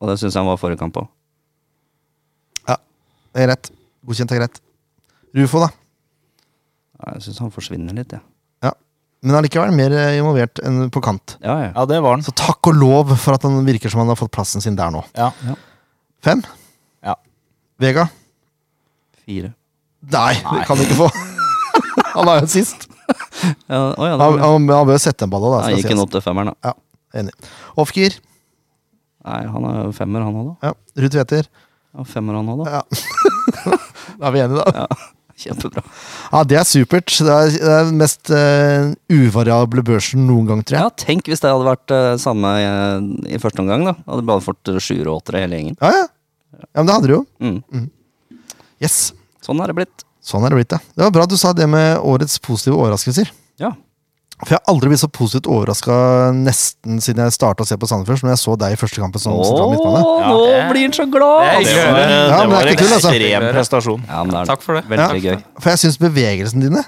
S2: Og det syns jeg han var forrige kamp òg.
S1: Det er greit. Godkjent er greit. Rufo, da.
S2: Jeg syns han forsvinner litt, jeg.
S1: Men allikevel mer eh, involvert enn på kant.
S2: Ja. Ja, ja.
S3: Ja, det var han.
S1: Så takk og lov for at han virker som han har fått plassen sin der nå.
S3: Ja.
S1: Fem?
S3: Ja.
S1: Vega?
S2: Fire.
S1: Nei, det kan du ikke
S2: [laughs]
S1: få. han er jo sist.
S2: Ja, å, ja,
S1: Han,
S2: da,
S1: han, han bør sette en ball òg, da.
S2: Nei,
S1: Skal
S2: gikk
S1: sies.
S2: han opp til femmeren, da.
S1: Enig. Off-gear.
S2: Nei, han er jo femmer, han òg, da.
S1: Ja. Ruud Tveter.
S2: Ja, femmer, han også, da.
S1: Ja. Da er vi enige, da.
S2: Kjempebra.
S1: Ja, det er supert. Det er, det er den mest eh, uvariable børsen noen gang, tror
S2: Ja,
S1: jeg.
S2: tenk hvis det hadde vært eh, samme eh, i første omgang, da. Hadde bare fått eh, sjuere og åttere, hele gjengen.
S1: Ja, ja. ja men det hadde du jo.
S2: Mm.
S1: Yes.
S2: Sånn er det blitt.
S1: Sånn er det blitt, ja. Det var bra at du sa det med årets positive overraskelser.
S2: Ja.
S1: For jeg har aldri blitt så positivt overraska nesten siden jeg starta å se på Sandefjord, som når jeg så deg i første kampen som sentral midtbane.
S2: Åh, nå blir han så glad!
S4: Det er
S3: Det var,
S4: hyggelig å høre.
S1: Ja, men det er
S3: det var
S1: ikke
S3: en
S1: tull, altså.
S3: ekstrem prestasjon.
S2: Ja, men det er
S4: Takk for det.
S2: Veldig gøy.
S1: For jeg syns bevegelsene dine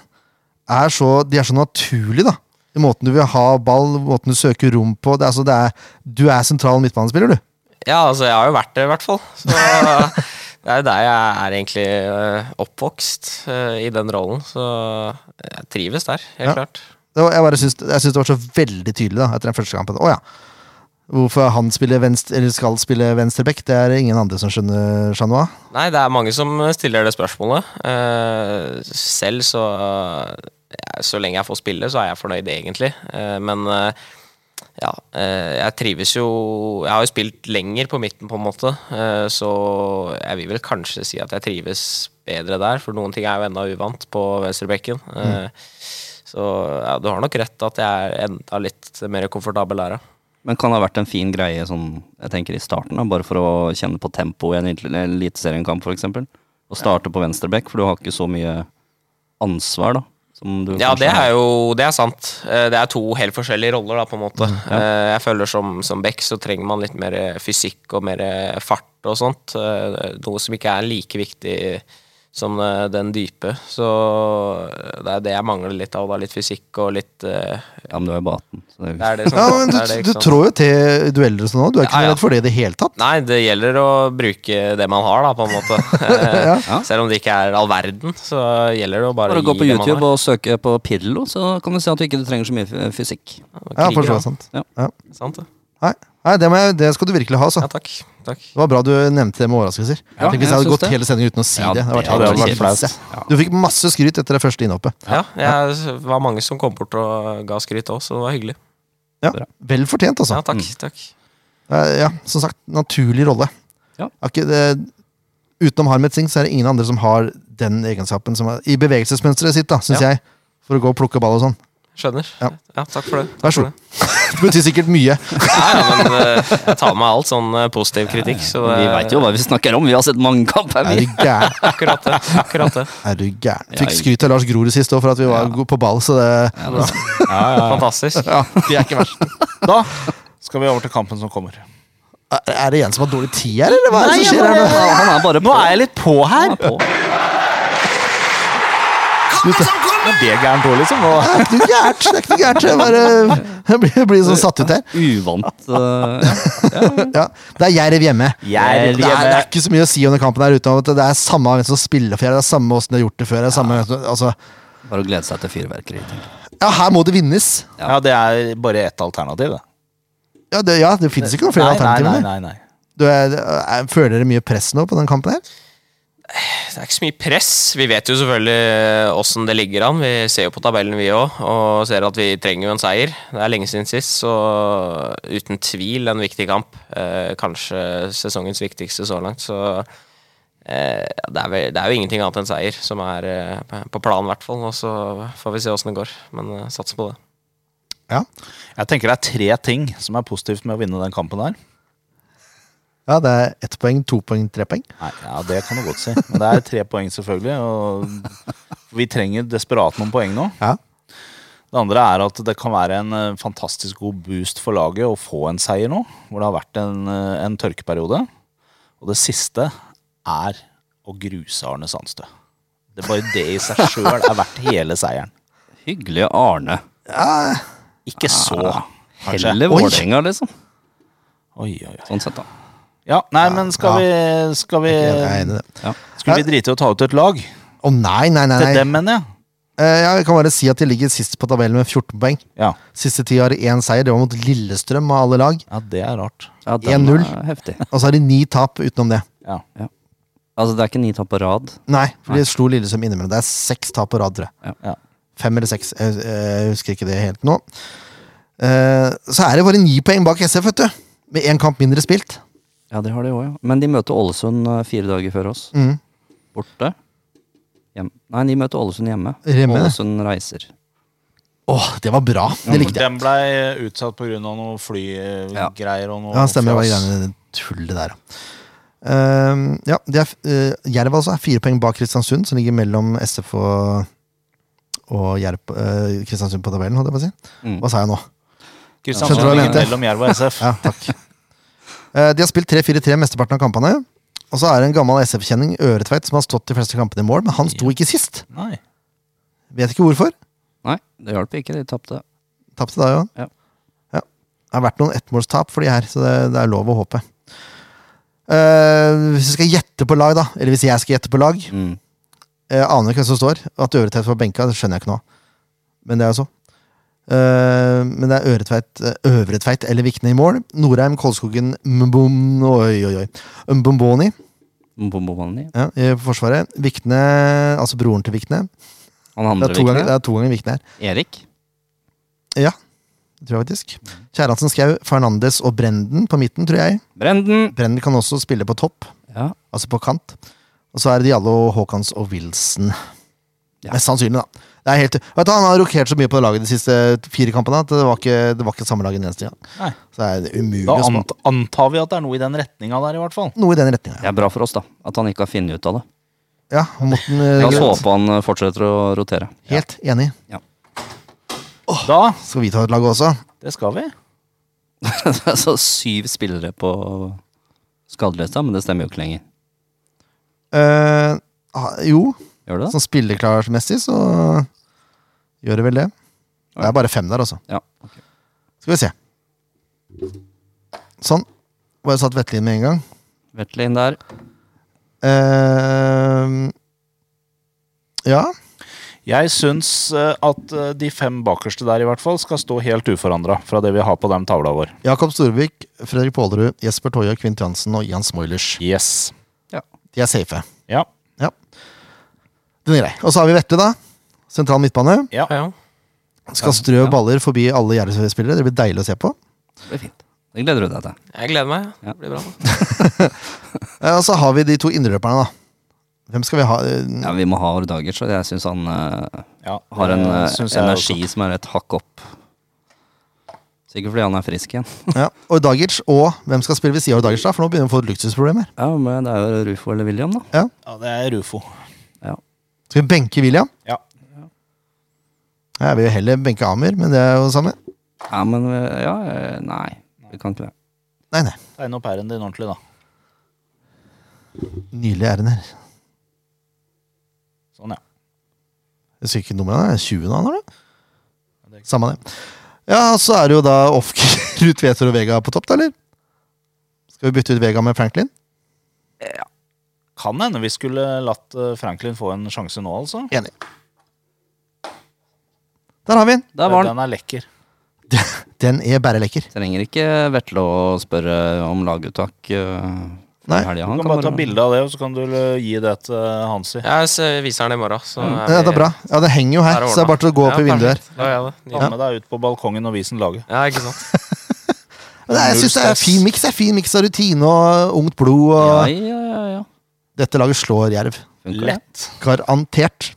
S1: er så, de er så naturlige, da. I måten du vil ha ball, måten du søker rom på. Det er, så det er, du er sentral midtbanespiller, du.
S4: Ja, altså, jeg har jo vært det, i hvert fall. Så [laughs] det er jo der jeg er egentlig eh, oppvokst, eh, i den rollen. Så eh, jeg trives der, helt
S1: Ja.
S4: klart.
S1: Det var, jeg bare syns, jeg syns det var så veldig tydelig da, etter den første kampen. Å ja. Hvorfor han spiller venstre, eller skal spille venstreback, det er det ingen andre som skjønner, Chanois.
S4: Nei, det er mange som stiller det spørsmålet. Eh, selv så ja, Så lenge jeg får spille, så er jeg fornøyd, egentlig. Eh, men eh, ja, eh, jeg trives jo Jeg har jo spilt lenger på midten, på en måte. Eh, så jeg vil vel kanskje si at jeg trives bedre der, for noen ting er jo enda uvant på venstrebekken. Eh, Så ja, du har nok rett at jeg er enda litt mer komfortabel der, ja.
S2: Men kan det ha vært en fin greie sånn, jeg tenker i starten, da, bare for å kjenne på tempo i en elit- eliteseriekamp f.eks.? Å starte på venstreback, for du har ikke så mye ansvar, da. Som du
S4: Ja,
S2: kanskje
S4: det er
S2: har.
S4: jo det er sant. Eh, Det er to helt forskjellige roller, da, på en måte. Eh, Jeg føler som, som back så trenger man litt mer eh, fysikk og mer eh, fart og sånt. eh, Noe som ikke er like viktig som eh, den dype. Så eh, det er det jeg mangler litt av, da. Litt fysikk og litt eh,
S2: Ja, men du er jo bare 18. Så det er
S1: [laughs]
S4: Det er det som
S1: Ja, men du,
S4: det er det,
S1: du
S4: ikke sant?
S1: trår jo til dueller og sånn nå. Du er ikke
S4: Ja,
S1: noe
S4: ja.
S1: redd for det i det hele tatt.
S4: Nei, det gjelder å bruke det man har, da, på en måte. Eh, Selv om det ikke er all verden, så gjelder det å bare,
S2: bare å gå
S4: gi
S2: på
S4: det man har.
S2: YouTube og søke på Pirlo, så kan du se at du ikke trenger så mye f- fysikk.
S1: Ja, sånn. for
S4: Kriger,
S1: så
S4: da.
S1: vidt sant.
S4: Sant, det.
S1: Nei, Nei det, må jeg, det skal du virkelig ha, altså.
S4: Ja, takk. takk.
S1: Det var bra du nevnte det med overraskelser.
S2: Ja,
S1: jeg tenkte Hvis
S2: jeg
S1: jeg hadde
S2: syns
S1: gått
S2: det.
S1: hele sendingen uten å si
S2: Ja,
S1: det. Det hadde
S2: det
S1: vært,
S2: hadde
S1: helt
S2: vært
S1: krise. Du fikk masse skryt etter det første innhoppet.
S4: Ja, jeg var mange som kom bort og ga skryt òg, så det var hyggelig.
S1: Ja, Vel fortjent, altså.
S4: Ja, takk, takk.
S1: Eh, Ja, som sagt, naturlig rolle.
S2: Ja.
S1: Er ikke det- Utenom Harmet Singh så er det ingen andre som har den egenskapen som er, i bevegelsesmønsteret sitt, da, syns
S4: Ja.
S1: jeg. For å gå og plukke ball og sånn.
S4: Skjønner.
S1: Ja.
S4: Ja, takk for det. Takk
S1: Vær så
S4: for
S1: god. [laughs] Det betyr sikkert mye.
S4: det. Ja, ja, men eh, jeg tar med alt sånn eh, positiv kritikk, så det
S2: Vi veit jo hva vi snakker om, vi har sett mange kamper.
S1: Er
S2: Vi.
S1: du gæren?
S4: Akkurat det. Akkurat det.
S1: Er du gæren? Fikk
S2: Ja, jeg-
S1: skryt av Lars Grorud sist òg for at vi var gode på ball, så det
S2: [laughs]
S4: Bra. Fantastisk.
S1: ja, Det er ikke verst.
S3: Da skal vi over til kampen som kommer.
S1: Er er det en som har dårlig tid her, eller hva er det som skjer her nå?
S2: Han er bare på.
S3: Nå er jeg litt på her!
S2: Han er på.
S3: Men det er gærent òg, liksom. Nå.
S1: Det er ikke noe gærent. Det er ikke noe gærent. Jeg bare jeg blir, jeg blir sånn satt ut her.
S2: Uvant. eh, ja.
S1: Ja, det er Jerv hjemme.
S3: Jerv
S1: Det, er, det
S3: hjemme.
S1: er ikke så mye å si under kampen her utenom at det er samme hvem som spiller for Jerv, det er samme åssen de har gjort det før. Det er samme, altså,
S2: Bare å glede seg til fyrverkeri. tenker jeg.
S1: ja, her må det vinnes.
S3: Ja, det er bare ett alternativ, det.
S1: Ja, det, ja, det finnes ikke noen flere
S3: nei,
S1: alternativer.
S3: nei, nei, nei.
S1: Du er, er- føler dere mye press nå på den kampen her?
S4: det er ikke så mye press. Vi vet jo selvfølgelig eh, åssen det ligger an. Vi ser jo på tabellen, vi òg, og ser at vi trenger jo en seier. Det er lenge siden sist, så uten tvil en viktig kamp. Eh, kanskje sesongens viktigste så langt, så eh, det, er vel, det er jo ingenting annet enn seier som er eh, på- på planen, i hvert fall. Og så får vi se åssen det går, men eh, sats på det.
S1: Ja,
S3: Jeg tenker det er tre ting som er positivt med å vinne den kampen her.
S1: ja det er ett poeng, to poeng, tre poeng.
S3: Nei, ja, det kan du godt si. Men det er tre poeng, selvfølgelig. Og vi trenger desperat noen poeng nå.
S1: Ja.
S3: Det andre er at det kan være en eh, fantastisk god boost for laget å få en seier nå, hvor det har vært en, eh, en tørkeperiode. Og det siste er å gruse Arne Sandstø. Det er bare det i seg sjøl er verdt hele seieren.
S2: Hyggelige Arne.
S3: Ikke så. Kanskje.
S2: Heller
S1: Oi.
S2: Vålerenga, liksom.
S3: Oi, oi, oi.
S2: Sånn sett, da.
S3: Ja, nei, men skal vi, skal vi
S1: Jeg er enig i det.
S3: Skulle vi drite i å ta ut et lag?
S1: Å nei, nei, nei.
S3: Til
S1: nei.
S3: dem, mener jeg.
S1: Eh, Jeg kan bare si at de ligger sist på tabellen med 14 poeng.
S3: Ja.
S1: Siste ti har de én seier, det var mot Lillestrøm av alle lag.
S3: ja, det er rart.
S2: Ja, den
S1: 1-0.
S2: er Heftig.
S1: Og så har de ni tap utenom det.
S3: Ja.
S2: Altså, det er ikke ni tap på rad.
S1: Nei, for de slo Lillestrøm innimellom. Det er seks tap på rad, tror jeg.
S3: Ja.
S1: Fem eller seks, jeg, jeg husker ikke det helt nå. Eh, Så er det bare ni poeng bak SF, vet du. Med én kamp mindre spilt.
S2: Ja, det har de òg, ja. Men de møter Ålesund eh, fire dager før oss.
S1: Mm.
S2: Borte. Hjem. Nei, de møter Ålesund hjemme.
S1: Hjemme.
S2: Ålesund reiser.
S1: Åh, det var bra! Det likte jeg.
S3: Den blei utsatt pga. noe flygreier og noe
S1: Ja, stemmer. Det var
S3: fjas.
S1: greiene tullet der, ja. Ehm, ja, det er, eh, Jerv altså er fire poeng bak Kristiansund, som ligger mellom SF og, og Jerv, eh, Kristiansund på tabellen, holdt jeg på å si.
S2: Mm.
S1: Hva sa jeg nå?
S3: Kristiansand
S1: Skjønner du hva jeg
S3: ligger
S1: mente?
S3: mellom Jerv og SF.
S1: Ja, takk. Eh, de har spilt 3-4-3 mesteparten av kampene. Og så er det en gammel SF-kjenning, Øretveit, som har stått de fleste kampene i mål, men han sto ikke sist.
S3: Nei.
S1: Vet ikke hvorfor.
S2: Nei, det hjalp ikke. De tapte.
S1: Tapte da, jo.
S2: Ja.
S1: Ja. Det har vært noen ettmålstap for de her, så det, det er lov å håpe. Eh, hvis vi skal gjette på lag, da, eller hvis jeg skal gjette på lag
S2: Mm.
S1: Jeg aner ikke hvem som står. At Øretveit var benka, det skjønner jeg ikke nå. Men det er jo så. Eh, men det er Øretveit, eh, Øvretveit eller Vikne i mål. Norheim, Kolskogen, Mbom, oi, oi, oi. Mbomboni
S2: Bombomani.
S1: ja, i Forsvaret. Vikne, altså broren til Vikne.
S2: Han
S1: Det
S2: andre
S1: er to ganger,
S2: viktige.
S1: det er to ganger Vikne her.
S2: Erik.
S1: Ja, det tror jeg faktisk.
S2: Mhm.
S1: Kjæransen Skau, Fernandes og Brenden på midten, tror jeg.
S2: Brenden.
S1: Brenden kan også spille på topp,
S2: Ja.
S1: altså på kant. Og så er det Diallo, Haakons og Wilson.
S2: Ja.
S1: Mest sannsynlig, da. Det er helt, vet du, han har rokert så mye på det laget de siste fire kampene at det var ikke, det var ikke samme lag en eneste gang.
S3: Nei.
S1: Så det er umulig
S3: Da
S1: å spå.
S3: ant antar vi at det er noe i den retninga der, i hvert fall.
S1: Noe i den retninga.
S2: Det er bra for oss, da. At han ikke har funnet ut av det.
S1: Ja, og Morten, eh,
S2: La oss
S1: Grøt.
S2: håpe han eh, fortsetter å rotere.
S1: Helt enig.
S3: Da,
S1: Skal vi ta et lag også?
S3: det skal vi.
S2: [laughs] Det er så syv spillere på skadelista, men det stemmer jo ikke lenger.
S1: Eh, ah, jo,
S2: Gjør det det?
S1: sånn spilleklarsmessig så gjør det vel det. Det er bare fem der, altså.
S2: Ja.
S1: Skal vi se. Sånn. Bare satt Vetle inn med en gang.
S2: Vetle inn der.
S1: Eh, ja.
S3: Jeg syns eh, at eh, de fem bakerste der i hvert fall skal stå helt uforandra fra det vi har på den tavla vår.
S1: Jakob Storvik, Fredrik Pålerud, Jesper Toje, Kvint Jansen og Jan Smoilers.
S3: Yes.
S1: De er safe.
S3: Ja.
S1: Ja. Den er grei. Og så har vi Vetle, da. Sentral midtbane.
S3: ja.
S4: Ja, ja.
S1: Skal strø baller forbi alle Jerv-spillere. Det blir deilig å se på.
S2: Det blir fint. Det gleder du deg til.
S4: Jeg gleder meg.
S2: Ja.
S4: Det blir bra.
S1: Eh, og så har vi de to indreløperne, da. Hvem skal vi ha?
S2: Ja, vi må ha våre dager, så jeg syns han eh,
S3: ja.
S2: har en
S3: det
S2: eh,
S3: syns jeg
S2: energi
S3: også.
S2: som er et hakk opp. Sikkert fordi han er frisk igjen.
S1: Ja. Og Dagic, og hvem skal spille ved siden av Dagic, da? For nå begynner vi å få et luksusproblemer.
S2: Ja, men Det er jo Rufo eller William, da.
S3: Ja, det er Rufo.
S1: Skal vi benke William?
S3: Ja.
S1: Ja, Jeg vil jo heller benke Amir, men det er jo det samme.
S2: Ja, men eh, ja, eh, Nei, vi kan ikke det.
S1: Nei, nei.
S3: Tegne opp æren din ordentlig, da.
S1: Nydelig er den her.
S3: Sånn, ja.
S1: Jeg husker ikke nummeret. han er 20 nå, han har
S3: det er
S1: det. Samme det. Ja, og så er det jo da Ofker, [laughs] Ruth Tveter og Vega på topp, da, eller? Skal vi bytte ut Vega med Franklin?
S3: Kan hende vi skulle latt eh, Franklin få en sjanse nå, altså.
S1: Enig. Der har vi den.
S2: Der var han.
S3: Den er lekker.
S1: Den er bare lekker.
S2: Trenger ikke Vetle å spørre om laguttak eh,
S1: Nei.
S2: helga.
S3: Du
S2: Han
S3: kan bare ta
S2: være med.
S3: bilde av det, og så kan du eh, gi det til Hansi.
S4: Jeg s- viser den i morgen. Så vi-
S1: Mm. Ja, det er bra. Ja, det henger jo her,
S4: er det
S1: så det er bare til å gå
S4: ordnet.
S1: opp i
S4: Ja,
S1: vinduet her.
S4: perfekt. Da gjør jeg det.
S3: Ta med deg ut på balkongen og vis den laget.
S4: Ja, ikke sant.
S1: Men det er- Jeg syns det er en fin miks. det er Fin miks av rutine og ungt blod. Og
S2: Ja, ja, ja, ja.
S1: Dette laget slår Jerv.
S2: Funker det?
S3: Lett.
S1: Garantert.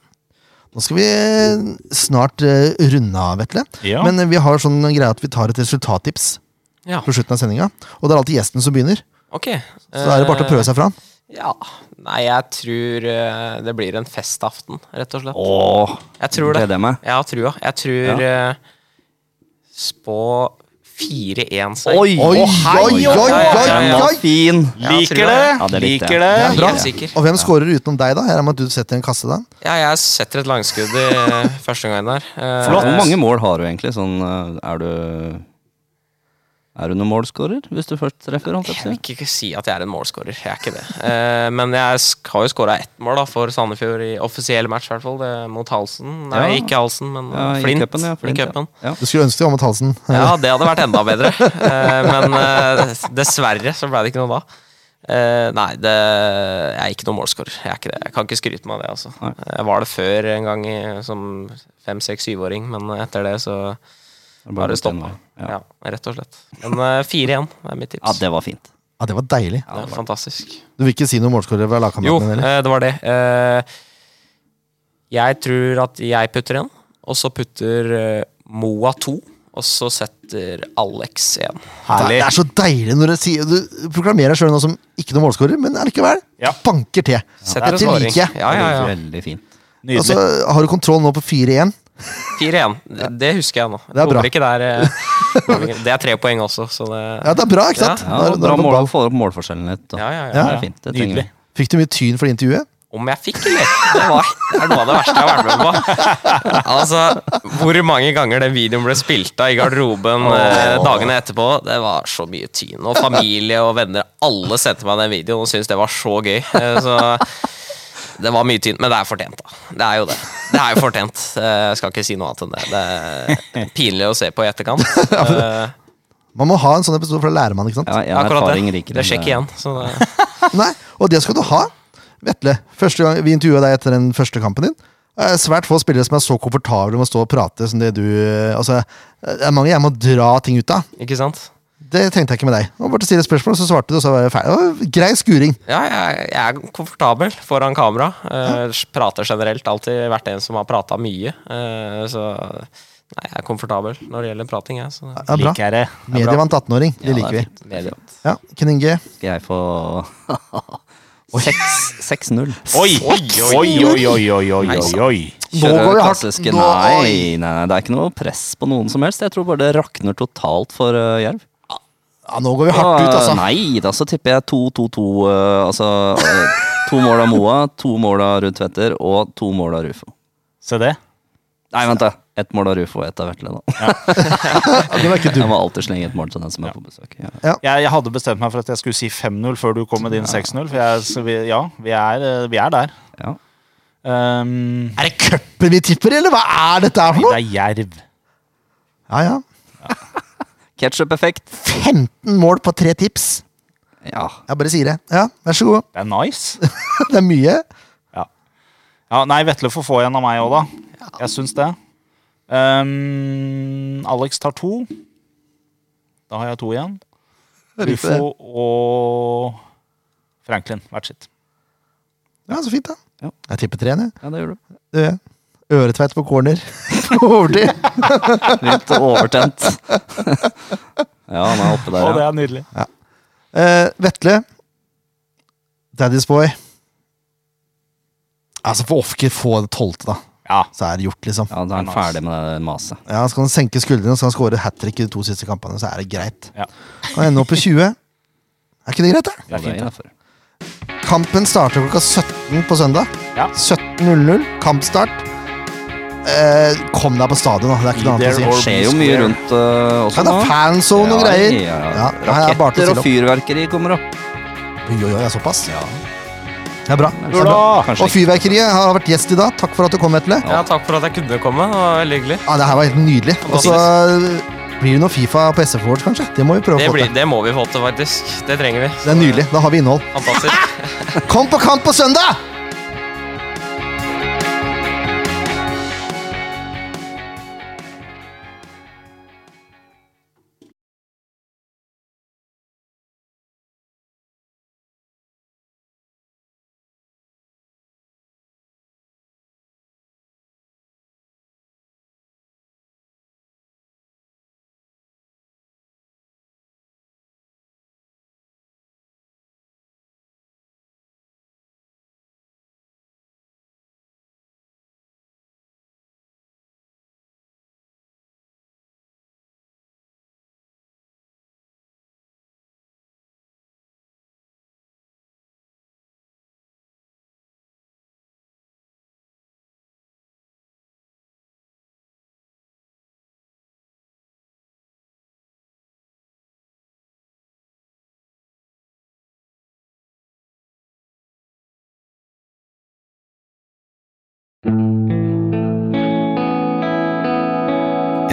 S1: Nå skal vi eh, snart eh, runde av, Vetle.
S3: Ja.
S1: Men eh, vi har sånn greie at vi tar et resultattips
S4: Ja.
S1: på slutten av sendinga. Og det er alltid gjesten som begynner.
S4: Ok.
S1: Så da er det bare til å prøve seg fram.
S4: Ja. Nei, jeg tror eh, det blir en festaften, rett og slett.
S2: Åh,
S4: Jeg tror det.
S2: gleder jeg meg.
S4: Jeg har trua. Jeg tror eh, Spå 4-1-seier.
S2: Oi,
S1: Oi, oi, oi, oi,
S2: Den var
S1: oi!
S2: fin!
S3: Liker det!
S4: Ja,
S2: Ja, det likte
S3: Liker det!
S2: jeg.
S4: Ja,
S1: Bra.
S4: Eh, Helt sikker.
S1: Og hvem scorer utenom deg, da? Jeg regner med at du setter en kasse da.
S4: Ja, jeg setter et langskudd i eh, første gangen der. Eh,
S2: Flott. Hvor mange mål har du egentlig? Sånn, eh, er du Er du noen målskårer, hvis du først treffer? holdt
S4: Jeg vil
S2: jeg på å si?
S4: ikke ikke si at jeg er en målskårer. Jeg er ikke det. Eh, men jeg sk- har jo skåra ett mål da, for Sandefjord i offisiell match, i hvert fall. Det er Mot Halsen. Nei,
S2: Ja.
S4: ikke Halsen, men
S2: Ja, i
S4: Flint.
S2: cupen, ja, Flint,
S4: I
S2: ja.
S4: cupen.
S2: Ja.
S1: Du skulle ønske deg om at Halsen
S4: Ja, det hadde vært enda bedre. Eh, Men eh, dessverre så ble det ikke noe da. Eh, Nei, det, jeg er ikke noen målskårer. Jeg er ikke det. Jeg kan ikke skryte meg av det. altså.
S2: Nei.
S4: Jeg var det før en gang i- som fem, seks, syvåring, men etter det så
S2: Det
S4: har
S2: bare
S4: det
S2: gått en
S4: stoppa.
S2: vei. Ja.
S4: Ja, rett og slett. Men eh, fire igjen er mitt tips.
S2: ja, det var fint.
S1: Ja, det var deilig.
S4: Ja, det er fantastisk.
S1: Du vil ikke si noen målskårere fra
S4: Jo,
S1: lagkameratene? eller?
S4: eh, det var det. Eh, Jeg tror at jeg putter en, og så putter eh, Moa to, og så setter Alex en.
S1: Det er så deilig når du sier Du proklamerer deg sjøl nå som ikke noen målskårer, men allikevel
S3: Ja.
S1: banker til.
S4: Setter en
S1: Dette
S4: scoring.
S1: liker jeg.
S4: Ja, ja, ja.
S2: Veldig fint.
S1: Og så
S3: Nydelig.
S1: har du kontroll nå på 4-1.
S4: 4-1. Det, det husker jeg nå.
S1: Det er bra.
S4: Kommer Ikke der, eh, det er tre poeng også, så det
S1: Ja, det er bra, ikke sant?
S2: Ja,
S1: Nå er-
S2: og
S1: nå er
S2: bra
S1: det på
S2: mål,
S1: ball.
S2: få opp målforskjellen litt. Da.
S4: ja, ja, ja.
S2: Det er fint. Det trenger vi.
S3: Nydelig.
S1: Fikk du mye tyn for det intervjuet?
S4: Om jeg fikk, eller? Det, var, det er noe av det verste jeg har vært med på. Altså, Hvor mange ganger den videoen ble spilt av i garderoben eh, dagene etterpå, det var så mye tyn. Og familie og venner, alle sendte meg den videoen og syntes det var så gøy. Eh, Så det var mye tyn. Men det er fortjent, da. Det er jo det. Det er jo fortjent. Eh, Jeg skal ikke si noe annet enn det. Det er pinlig å se på i etterkant.
S1: [laughs]
S4: Eh,
S1: Man må ha en sånn episode, for da lærer man, ikke sant?
S2: Ja, jeg har
S4: Akkurat
S2: erfaring
S4: det.
S2: rikere
S4: Det
S2: enn
S4: sjekk igjen. Så det,
S1: Nei, og det skal du ha. Vetle, første gang vi intervjua deg etter den første kampen din. Det er svært få spillere som er så komfortable med å stå og prate som det du Altså, det er mange jeg må dra ting ut av.
S4: ikke sant?
S1: Det tenkte jeg ikke med deg. Og bare stille spørsmål, så svarte du, og så var jeg ferdig. Det var Grei skuring.
S4: Ja, jeg, jeg er komfortabel foran kamera. eh, prater generelt. Alltid vært en som har prata mye. eh, så nei, jeg er komfortabel når det gjelder prating. Jeg, så det
S1: Ja, bra.
S3: Liker jeg det.
S1: Medie vant 18-åring. Det liker vi.
S4: er medievant.
S1: Ja, Ken Inge.
S2: Skal jeg få [laughs] 6 6-0.
S3: Oi, oi, oi, oi, oi, oi, oi, oi.
S1: Nå går vi hardt.
S2: klassiske
S1: Nå-
S2: nei, nei, nei, det er ikke noe press på noen som helst. Jeg tror bare det rakner totalt for eh, Jerv.
S1: Ja, nå går vi hardt ut,
S2: Og, eh,
S1: altså.
S2: Nei, da så tipper jeg 2-2-2. eh, altså eh, to mål av Moa, to mål av Ruud Tvedter og to mål av Rufo.
S3: Se det.
S2: Nei, vent, da. Ett mål av Rufo og ett av Vetle, [laughs] da.
S1: Ja, det var ikke
S2: Jeg
S1: dumt.
S2: må alltid slenge et mål til den som er på besøk. Ja.
S3: Jeg, jeg hadde bestemt meg for at jeg skulle si 5-0 før du kom med din 6-0. For jeg, så vi, ja, vi er, eh, vi er der.
S2: Ja.
S3: Um,
S1: Er det cupen vi tipper, eller hva er dette her for
S3: det
S1: noe?
S3: er jerv.
S1: Ja, ja.
S2: Ketchup-effekt.
S1: 15 mål på tre tips.
S2: Ja.
S1: Jeg bare sier det. Ja, vær så god. [laughs]
S3: Det er nice.
S1: Det er mye.
S3: Ja, nei, Vetle får få en av meg òg, da. Jeg syns det. Um, Alex tar to. Da har jeg to igjen. Rufo og Franklin hvert sitt.
S1: Ja, så fint, da.
S2: Ja.
S1: Jeg tipper tre, jeg.
S2: ja,
S1: [laughs]
S2: det gjør du.
S1: Det gjør jeg. Øretveit på corner. [laughs]
S2: [laughs]
S1: Overtid.
S2: Litt overtent. [laughs] Ja, han er oppe
S3: Og
S2: der,
S3: det
S2: ja.
S3: er nydelig.
S1: Eh, Vetle. Daddy's boy. Altså, for ofke få det tolvte, da.
S3: Ja.
S1: Så er det gjort, liksom.
S2: Ja, Da er han ferdig med det maset.
S1: Ja, Skal han senke skuldrene og skal han score hat trick i de to siste kampene, så er det greit.
S3: Ja.
S1: Kan ende opp på 20. Er ikke det greit, da?
S2: Det er fint, da.
S1: Kampen starter klokka 17 på søndag.
S3: Ja.
S1: 17.00. Kampstart. Eh, kom deg på stadion, da. Det er ikke noe
S3: Be
S1: annet å
S3: there
S1: si.
S3: or
S2: Det skjer jo mye rundt eh,
S1: Ja,
S2: også
S1: det
S2: nå.
S1: er fanzone og
S2: Ja,
S1: greier.
S2: ja, ja.
S1: Ja, her er det bare til
S2: Raketter
S1: å stille
S2: og
S1: opp.
S2: fyrverkeri kommer opp.
S1: Oi, oi, oi, såpass. Det er bra. Det er bra.
S3: Hurra!
S2: Kanskje
S1: Og Fyrverkeriet har vært gjest i dag. Takk for at du kom, Vetle.
S4: Ja, takk for at jeg kunne komme. Det var veldig hyggelig.
S1: Ja, det her var helt nydelig. Og så Blir det noe Fifa på SF Awards, kanskje? Det må vi prøve
S4: Det,
S1: å få
S4: blir,
S1: til.
S4: det må vi få til, faktisk. Det trenger vi.
S1: Det er nydelig. Da har vi innhold.
S4: Fantastisk.
S1: Kom på kamp på søndag!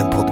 S1: En